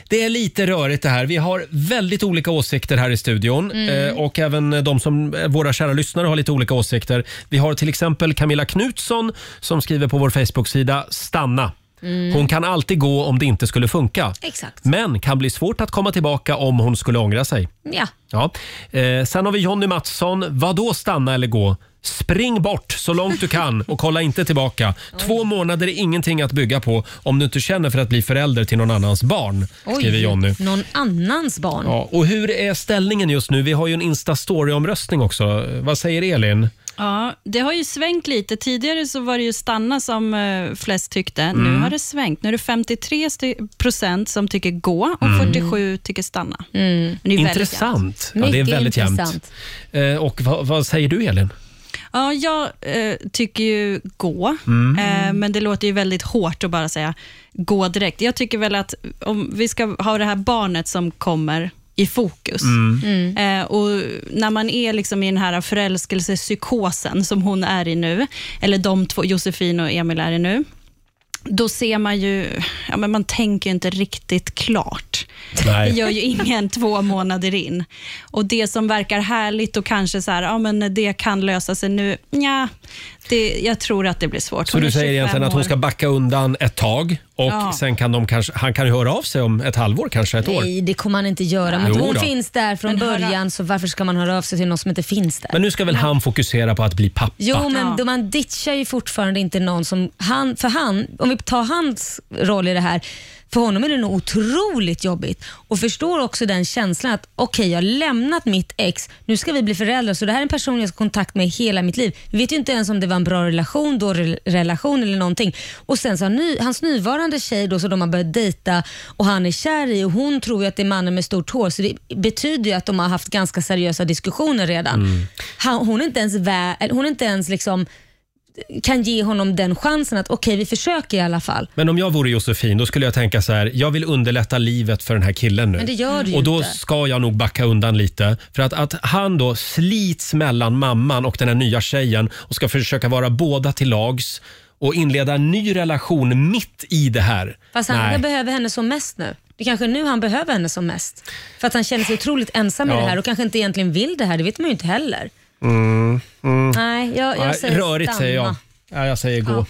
det är lite rörigt det här. Vi har väldigt olika åsikter här i studion Mm. eh, och även de som, eh, våra kära lyssnare har lite olika åsikter. Vi har till exempel Camilla Knutsson som skriver på vår Facebook-sida “Stanna”. Mm. Hon kan alltid gå om det inte skulle funka. Exakt. Men kan bli svårt att komma tillbaka om hon skulle ångra sig. Ja. Ja. Eh, sen har vi Jonny Mattsson. Vadå stanna eller gå? Spring bort så långt du kan och kolla inte tillbaka. Två månader är ingenting att bygga på om du inte känner för att bli förälder till någon annans barn, skriver Jonny. någon annans barn. Ja, och hur är ställningen just nu? Vi har ju en Insta-story-omröstning också. Vad säger Elin? Ja, det har ju svängt lite. Tidigare så var det ju stanna som eh, flest tyckte. Nu Mm. har det svängt. Nu är det 53 sti- procent som tycker gå och Mm. 47 tycker stanna. Men det är väldigt Intressant. jämnt. Ja, det är Mm. Mycket väldigt intressant. jämnt. Eh, och vad, vad säger du, Elin? Ja, jag eh, tycker ju gå, Mm. eh, men det låter ju väldigt hårt att bara säga gå direkt. Jag tycker väl att om vi ska ha det här barnet som kommer i fokus. Mm. Eh, och när man är liksom i den här förälskelsepsykosen som hon är i nu, eller de två, Josefin och Emil är i nu, då ser man ju, ja, men man tänker ju inte riktigt klart. Nej. Det gör ju ingen [LAUGHS] två månader in. Och det som verkar härligt och kanske så här, ja men det kan lösa sig nu, ja, det, jag tror att det blir svårt. Så Hon du är säger 25 egentligen att hon år. ska backa undan ett tag och Ja. sen kan de kanske, han kan ju höra av sig om ett halvår, kanske ett år. Nej, det kommer han inte göra. Men Jo hon då. finns där från början, så varför ska man höra av sig till någon som inte finns där? Men nu ska väl han fokusera på att bli pappa? Jo, men då man ditchar ju fortfarande inte någon som... Han, för han, om vi tar hans roll i det här, för honom är det nog otroligt jobbigt. Och förstår också den känslan att okej, jag har lämnat mitt ex, nu ska vi bli föräldrar, så det här är en person jag ska ha kontakt med hela mitt liv. Vi vet ju inte ens om det var en bra relation, dålig relation eller någonting. Och sen så har ny, hans nuvarande tjej då, som de har börjat dejta och han är kär i och hon tror ju att det är mannen med stort hår, så det betyder ju att de har haft ganska seriösa diskussioner redan. Mm. Han, hon är inte ens, vä- eller hon är inte ens liksom, kan ge honom den chansen att okej, vi försöker i alla fall. Men om jag vore Josefin, då skulle jag tänka så här. Jag vill underlätta livet för den här killen nu. Men det gör du ju Och då inte. ska jag nog backa undan lite. För att, att han då slits mellan mamman och den här nya tjejen och ska försöka vara båda till lags och inleda en ny relation mitt i det här. Fast han Nej. behöver henne som mest nu. Det är kanske nu han behöver henne som mest. För att han känner sig otroligt ensam Ja. i det här och kanske inte egentligen vill det här. Det vet man ju inte heller. Mm, mm. Nej, jag, jag Nej, säger Rörigt stanna. säger jag. Ja, jag säger gå.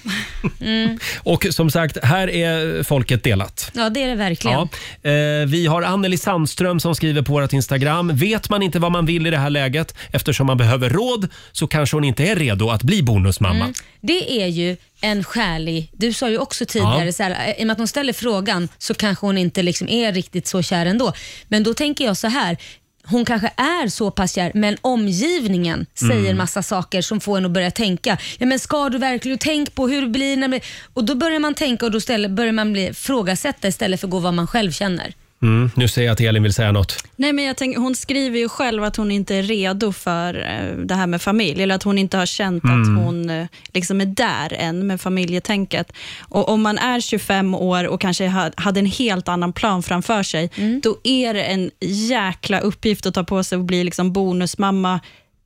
Mm. Och som sagt, här är folket delat. Ja, det är det verkligen. Ja. Eh, vi har Anneli Sandström som skriver på vårt Instagram. Vet man inte vad man vill i det här läget eftersom man behöver råd så kanske hon inte är redo att bli bonusmamma. Mm. Det är ju en skälig... Du sa ju också tidigare, Ja. så här, eh, i och med att hon ställer frågan så kanske hon inte liksom är riktigt så kär ändå. Men då tänker jag så här, hon kanske är så pass kär, men omgivningen säger Mm. massa saker som får en att börja tänka. Ja, men ska du verkligen? Tänk på hur det blir. När det blir. Och då börjar man tänka och då ställer, börjar man bli ifrågasätta istället för att gå vad man själv känner. Mm, nu ser jag att Elin vill säga något. Nej, men jag tänker, hon skriver ju själv att hon inte är redo för eh, det här med familj, eller att hon inte har känt Mm. att hon eh, liksom är där än med familjetänket. Och om man är 25 år och kanske ha- hade en helt annan plan framför sig, Mm. då är det en jäkla uppgift att ta på sig och bli liksom bonusmamma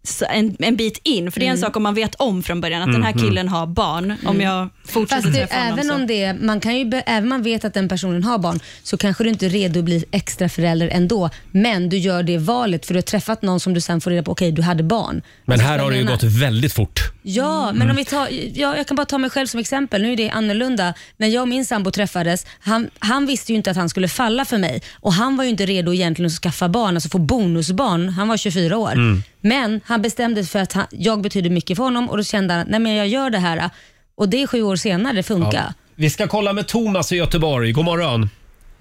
s- en, en bit in. För det är en Mm. sak om man vet om från början att den här Mhm. killen har barn, om Mm. jag fortsätter Fast du, träffa honom. även så. om det, man kan ju, be- även om man vet att den personen har barn så kanske du inte är redo att bli extra förälder ändå. Men du gör det valet för du har träffat någon som du sen får reda på, okej du hade barn. Men Alltså, här jag har det ju menar- gått Mm. väldigt fort. Ja, men om vi tar, ja, jag kan bara ta mig själv som exempel. Nu är det annorlunda. När jag och min sambo träffades, han, han visste ju inte att han skulle falla för mig. Och han var ju inte redo egentligen att skaffa barn, alltså få bonusbarn. Han var 24 år. Mm. Men han bestämde sig för att han, jag betydde mycket för honom och då kände han att nej, men jag gör det här. Och det är sju år senare det funkar. Ja. Vi ska kolla med Thomas i Göteborg. God morgon.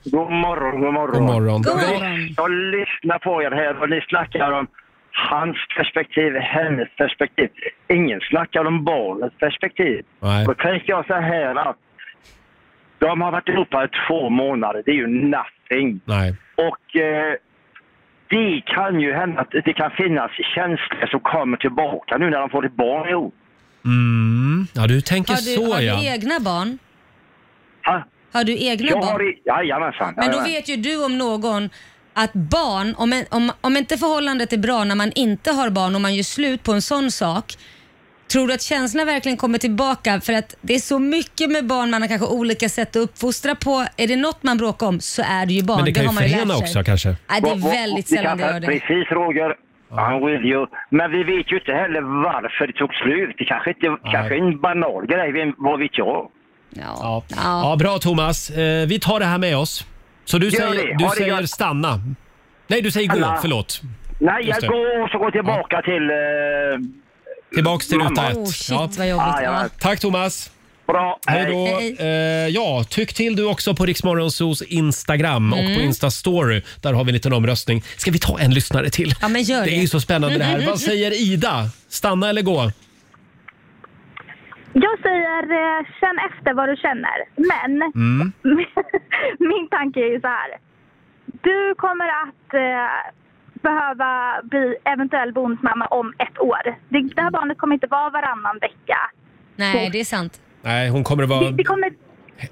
God morgon, god morgon. God morgon. God Jag, jag lyssnar på er här och ni snackar om hans perspektiv, hennes perspektiv. Ingen snackar om barnets perspektiv. Nej. Då tänker jag så här att de har varit ihop här i två månader. Det är ju nothing. Nej. Och eh, det kan ju hända att det kan finnas känslor som kommer tillbaka nu när de får ett barn ihop. Mm. Ja, du tänker Har du, så har ja. du egna barn? Ha? Har du egna Jag barn? har i- Jajamensan. Men då jajamän. vet ju du om någon att barn, om, en, om, om inte förhållandet är bra när man inte har barn och man gör slut på en sån sak, tror du att känslorna verkligen kommer tillbaka? För att det är så mycket med barn, man har kanske olika sätt att uppfostra på. Är det något man bråkar om så är det ju barn. Men det kan har ju man lärt förena sig. också kanske. Nej, det Och- och- och är väldigt vi sällan det kan- gör det. Precis Roger. I'm with you. Men vi vet ju inte heller varför det tog slut. Det kanske, inte, kanske är en banal grej, vem- vad vet jag? Ja. ja, bra Thomas. Eh, vi tar det här med oss. Så du Gör säger, det. du Ha det säger gött. stanna. Nej, du säger gå. Alla. Förlåt. Nej, Just jag det. går och så går tillbaka till... Eh, Tillbaks till ruta mamma. ett. Ja. jajamän. Tack Thomas. Bra, Hej hej. då. Hej. Eh, ja, tyck till du också på Riksmorgonsos Instagram och Mm. på Instastory. Där har vi en liten omröstning. Ska vi ta en lyssnare till? Ja, men gör det är ju så spännande det här. Vad säger Ida? Stanna eller gå? Jag säger eh, känn efter vad du känner. Men Mm. [LAUGHS] min tanke är ju så här. Du kommer att eh, behöva bli eventuell bonusmamma om ett år. Det, det här barnet kommer inte vara varannan vecka. Nej, det är sant. Nej, hon kommer att Det, [LAUGHS] vara... det kommer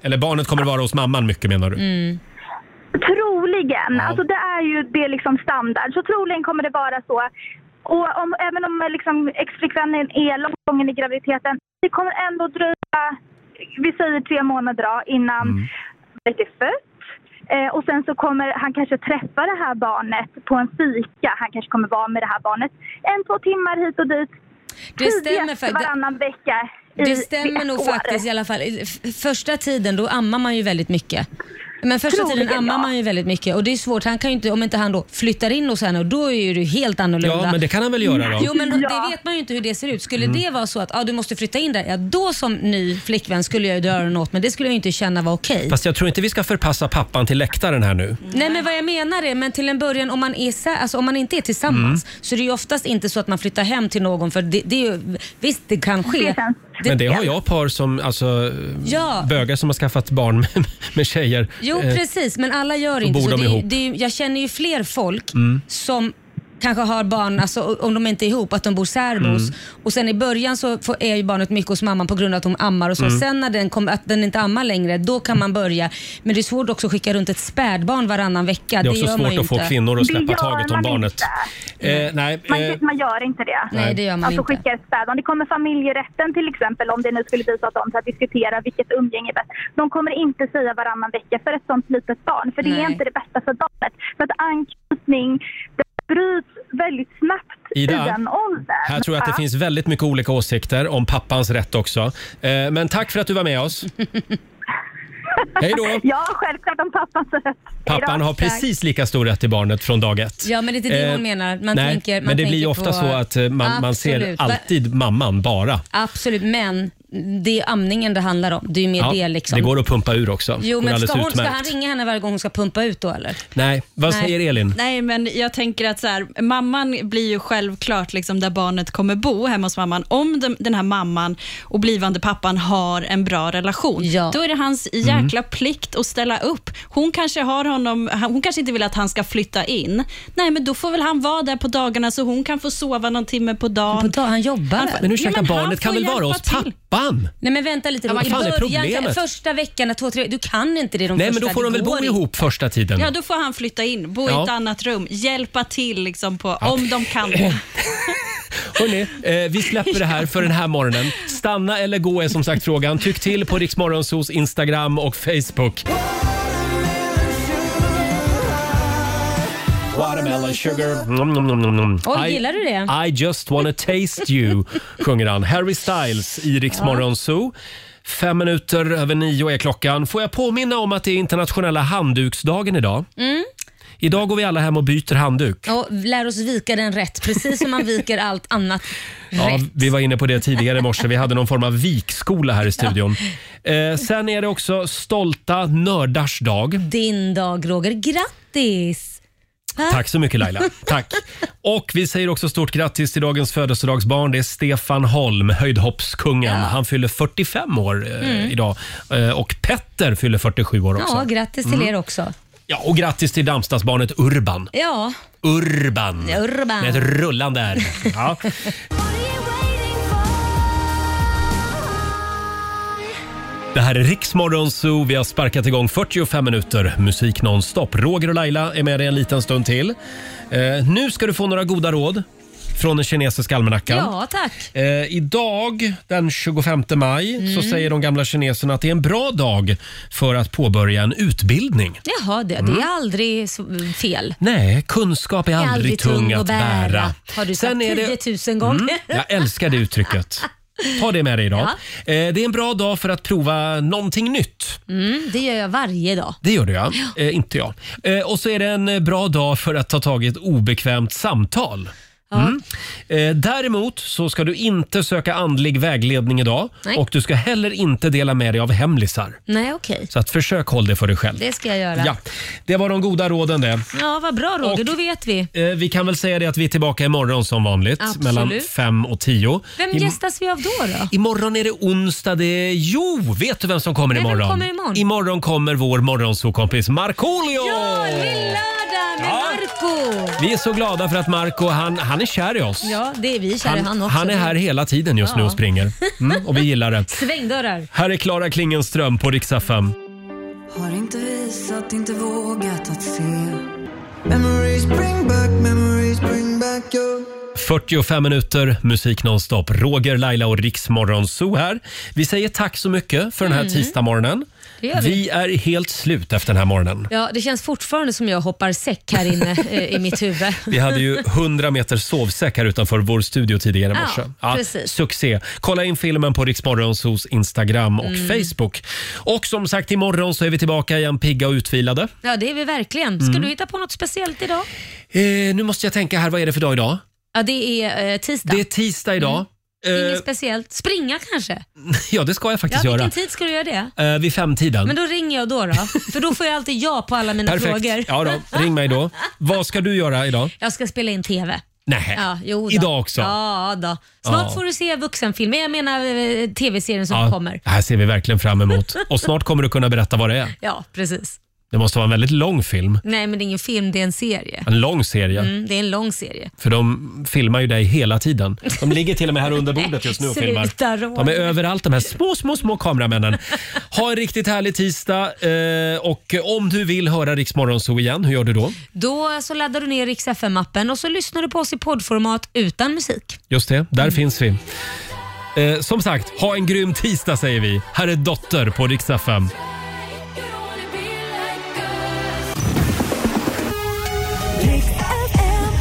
Eller barnet kommer att vara hos mamman mycket menar du? Mm. Troligen. Ja. Alltså det är ju det är liksom standard. Så troligen kommer det vara så. Och om, även om liksom exflickvännen är långt gången i graviditeten, det kommer ändå dröja, vi säger tre månader då, innan Mm. barnet är fött. Eh, och sen så kommer han kanske träffa det här barnet på en fika. Han kanske kommer vara med det här barnet en, två timmar hit och dit. Det stämmer Tidigast fakt- varannan vecka i Det i stämmer ett nog år. faktiskt i alla fall. I f- Första tiden då ammar man ju väldigt mycket. Men första Troligen, tiden ammar ja. man ju väldigt mycket och det är svårt. Han kan ju inte, om inte han då flyttar in hos henne och då är ju det helt annorlunda. Ja, men det kan han väl göra då? Jo, men Ja. det vet man ju inte hur det ser ut. Skulle Mm. det vara så att ah, du måste flytta in där, ja, då som ny flickvän skulle jag ju dra öronen åt men det skulle jag ju inte känna var okej. Fast jag tror inte vi ska förpassa pappan till läktaren här nu. Nej men vad jag menar är, men till en början om man, är, sä- alltså, om man inte är tillsammans Mm. så är det ju oftast inte så att man flyttar hem till någon för det, det är ju, visst det kan ske. Men det har jag par som, alltså Ja. bögar som har skaffat barn [LAUGHS] med, med tjejer. Jo Eh, precis, men alla gör då inte bor de så. Det är, ju- ihop. det är, ju- jag känner ju fler folk Mm. som kanske har barn, alltså, om de inte är ihop, att de bor särbos. Mm. Och sen i början så får, är ju barnet mycket hos mamman på grund av att hon ammar och så. Mm. Sen när den, kom, att den inte ammar längre, då kan man börja. Men det är svårt också att skicka runt ett spädbarn varannan vecka. Det är också gör man svårt ju att få inte. kvinnor att släppa taget om barnet. Eh, nej, Man, eh, man gör inte det. Nej, det gör man alltså, inte. skicka ett spädbarn. Det kommer familjerätten till exempel, om det nu skulle bli så att de ska diskutera vilket umgänge är bäst. De kommer inte säga varannan vecka för ett sånt litet barn, för det är inte det bästa för barnet. För att anknytning, det bryts väldigt snabbt Ida, i den åldern. här tror jag att det Ja. finns väldigt mycket olika åsikter om pappans rätt också. Eh, men tack för att du var med oss. Hej då! [LAUGHS] Ja, självklart om pappan så Pappan har precis lika stor rätt till barnet från dag ett. Eh, Ja, men det är inte det hon menar. Man nej, tänker- man men det blir ju tänker ofta så på- att eh, man, man ser Absolut. alltid mamman bara. Absolut, men det är amningen det handlar om. Det är ju mer Ja, det liksom. Det går att pumpa ur också. Jo, går Liksom. men alldeles ska, hon, ska utmärkt. han ringa henne varje gång hon ska pumpa ut då eller? Nej, vad Nej. säger Elin? Nej, men jag tänker att så här, mamman blir ju självklart liksom där barnet kommer bo, hemma hos mamman, om den, den här mamman och blivande pappan har en bra relation. Då är det hans Mm. jäkla plikt att ställa upp. Hon kanske, har honom, han- hon kanske inte vill att han ska flytta in. Nej, men då får väl han vara där på dagarna så hon kan få sova någon timme på dagen. På dag, han jobbar Men ursäkta, barnet kan väl vara hos oss pappan? Nej men vänta lite. Ja, vad I fan är början, problemet? första veckan, två, tre, du kan inte det de Nej, första. men då får det de väl går bo inte. ihop första tiden. Ja, då får han flytta in, bo i Ja. ett annat rum, hjälpa till liksom på, Ja. om de kan. [CLEARS THROAT] Hörrni, eh, vi släpper det här för den här morgonen. Stanna eller gå är som sagt frågan. Tyck till på Riksmorgonsos Instagram och Facebook. Watermelon sugar. Nom, nom, nom, nom, nom. Oj, I- gillar du det? I just wanna taste you, sjunger han. Harry Styles i Rix Morgon Zoo. Fem minuter över nio är klockan. Får jag påminna om att det är internationella handduksdagen idag. Mm. Idag går vi alla hem och byter handduk. Och lär oss vika den rätt, precis som man viker allt annat [LAUGHS] Ja, rätt. vi var inne på det tidigare i morse. Vi hade någon form av vikskola här i studion. Eh, sen är det också stolta nördars dag. Din dag Roger, grattis! Tack så mycket Laila. Tack. Och vi säger också stort grattis till dagens födelsedagsbarn. Det är Stefan Holm, höjdhoppskungen. Han fyller 45 år eh, Mm. idag. Eh, och Petter fyller 47 år också. Ja, grattis till Mm. er också. Ja, och grattis till Damstadsbarnet Urban. Ja, Urban. Urban. Mm. Med ett rullande R. [LAUGHS] Ja. Det här är Riksmorgon Zoo. Vi har sparkat igång 45 minuter musik nonstop. Roger och Laila är med dig en liten stund till. Eh, nu ska du få några goda råd från den kinesiska almanackan. ja tack. Eh, idag, den 25 maj, så Mm. säger de gamla kineserna att det är en bra dag för att påbörja en utbildning. Jaha, det, Mm. det är aldrig så- fel. Nej, kunskap är Det aldrig, tung, att bära. Har du sagt 10 000 gånger? Mm, jag älskar det uttrycket. Ta det med dig idag. Eh, det är en bra dag för att prova någonting nytt. [LAUGHS] Mm, det gör jag varje dag. Det gör du ja. Eh, inte jag. Eh, och så är det en eh, bra dag för att ta tag i ett obekvämt samtal. Ja. Mm. Eh, däremot så ska du inte söka andlig vägledning idag Nej. och du ska heller inte dela med dig av hemlisar. Nej, okej. Så att försök håll det för dig själv. Det ska jag göra. Ja, det var de goda råden det. Ja, vad bra Roger, då vet vi. Eh, vi kan väl säga det att vi är tillbaka imorgon som vanligt Absolut. mellan fem och tio. Vem Im- gästas vi av då? då? Imorgon är det onsdag. Det är... Jo, vet du vem som kommer Nej, vem imorgon? kommer imorgon? Imorgon kommer vår morgonsokompis Markoolio! Ja, det är lördag med Marco Vi är så glada för att Marco han, han är kär i oss. Ja, det är vi kära han, också. han är här hela tiden just nu Ja. och [LAUGHS] springer. Mm, och vi gillar det. Svängdörrar. Här är Klara Klingenström på Rix FM. Har inte visat, inte vågat att se Memories bring back, memories bring back your 45 minuter musik nonstop. Roger, Laila och Riksmorgon Zoo här. Vi säger tack så mycket för den här Mm. tisdagsmorgonen. Det gör vi. vi är helt slut efter den här morgonen. Ja, det känns fortfarande som jag hoppar säck här [LAUGHS] inne eh, i mitt huvud. Vi hade ju 100 meter sovsäck här utanför vår studio tidigare i Ja, morse. precis. succé! Kolla in filmen på Riksmorgonsos Instagram och Mm. Facebook. Och som sagt, imorgon så är vi tillbaka igen pigga och utvilade. Ja, det är vi verkligen. Ska Mm. du hitta på något speciellt idag? Eh, nu måste jag tänka här, vad är det för dag idag? Ja, det är eh, tisdag. Det är tisdag idag. Eh, Inget speciellt. Springa kanske? [LAUGHS] ja, det ska jag faktiskt Mm. ja, göra. vilken tid ska du göra det? Eh, vid femtiden. Men då ringer jag då, då för då får jag alltid ja på alla mina Perfekt. frågor. Ja [LAUGHS] då, ring mig då. Vad ska du göra idag? Jag ska spela in TV. Nej. Ja, jo då. Eh, Idag också? Ja, då. Snart Ja. får du se vuxenfilmer. Jag menar eh, TV-serien som Ja, kommer. Det här ser vi verkligen fram emot. Och snart kommer du kunna berätta vad det är. Ja, precis. Det måste vara en väldigt lång film. Nej, men det är ingen film, det är en serie. En lång serie. Mm, det är en lång serie. För de filmar ju dig hela tiden. De ligger till och med här under bordet just nu och filmar. Sluta, Roger. De är överallt de här små, små, små kameramännen. Ha en riktigt härlig tisdag. Eh, och om du vill höra Rix Morgonzoo igen, hur gör du då? Då så laddar du ner Rix FM-appen och så lyssnar du på oss i poddformat utan musik. Just det, där finns vi. Eh, som sagt, ha en grym tisdag säger vi. Här är Dotter på Rix FM.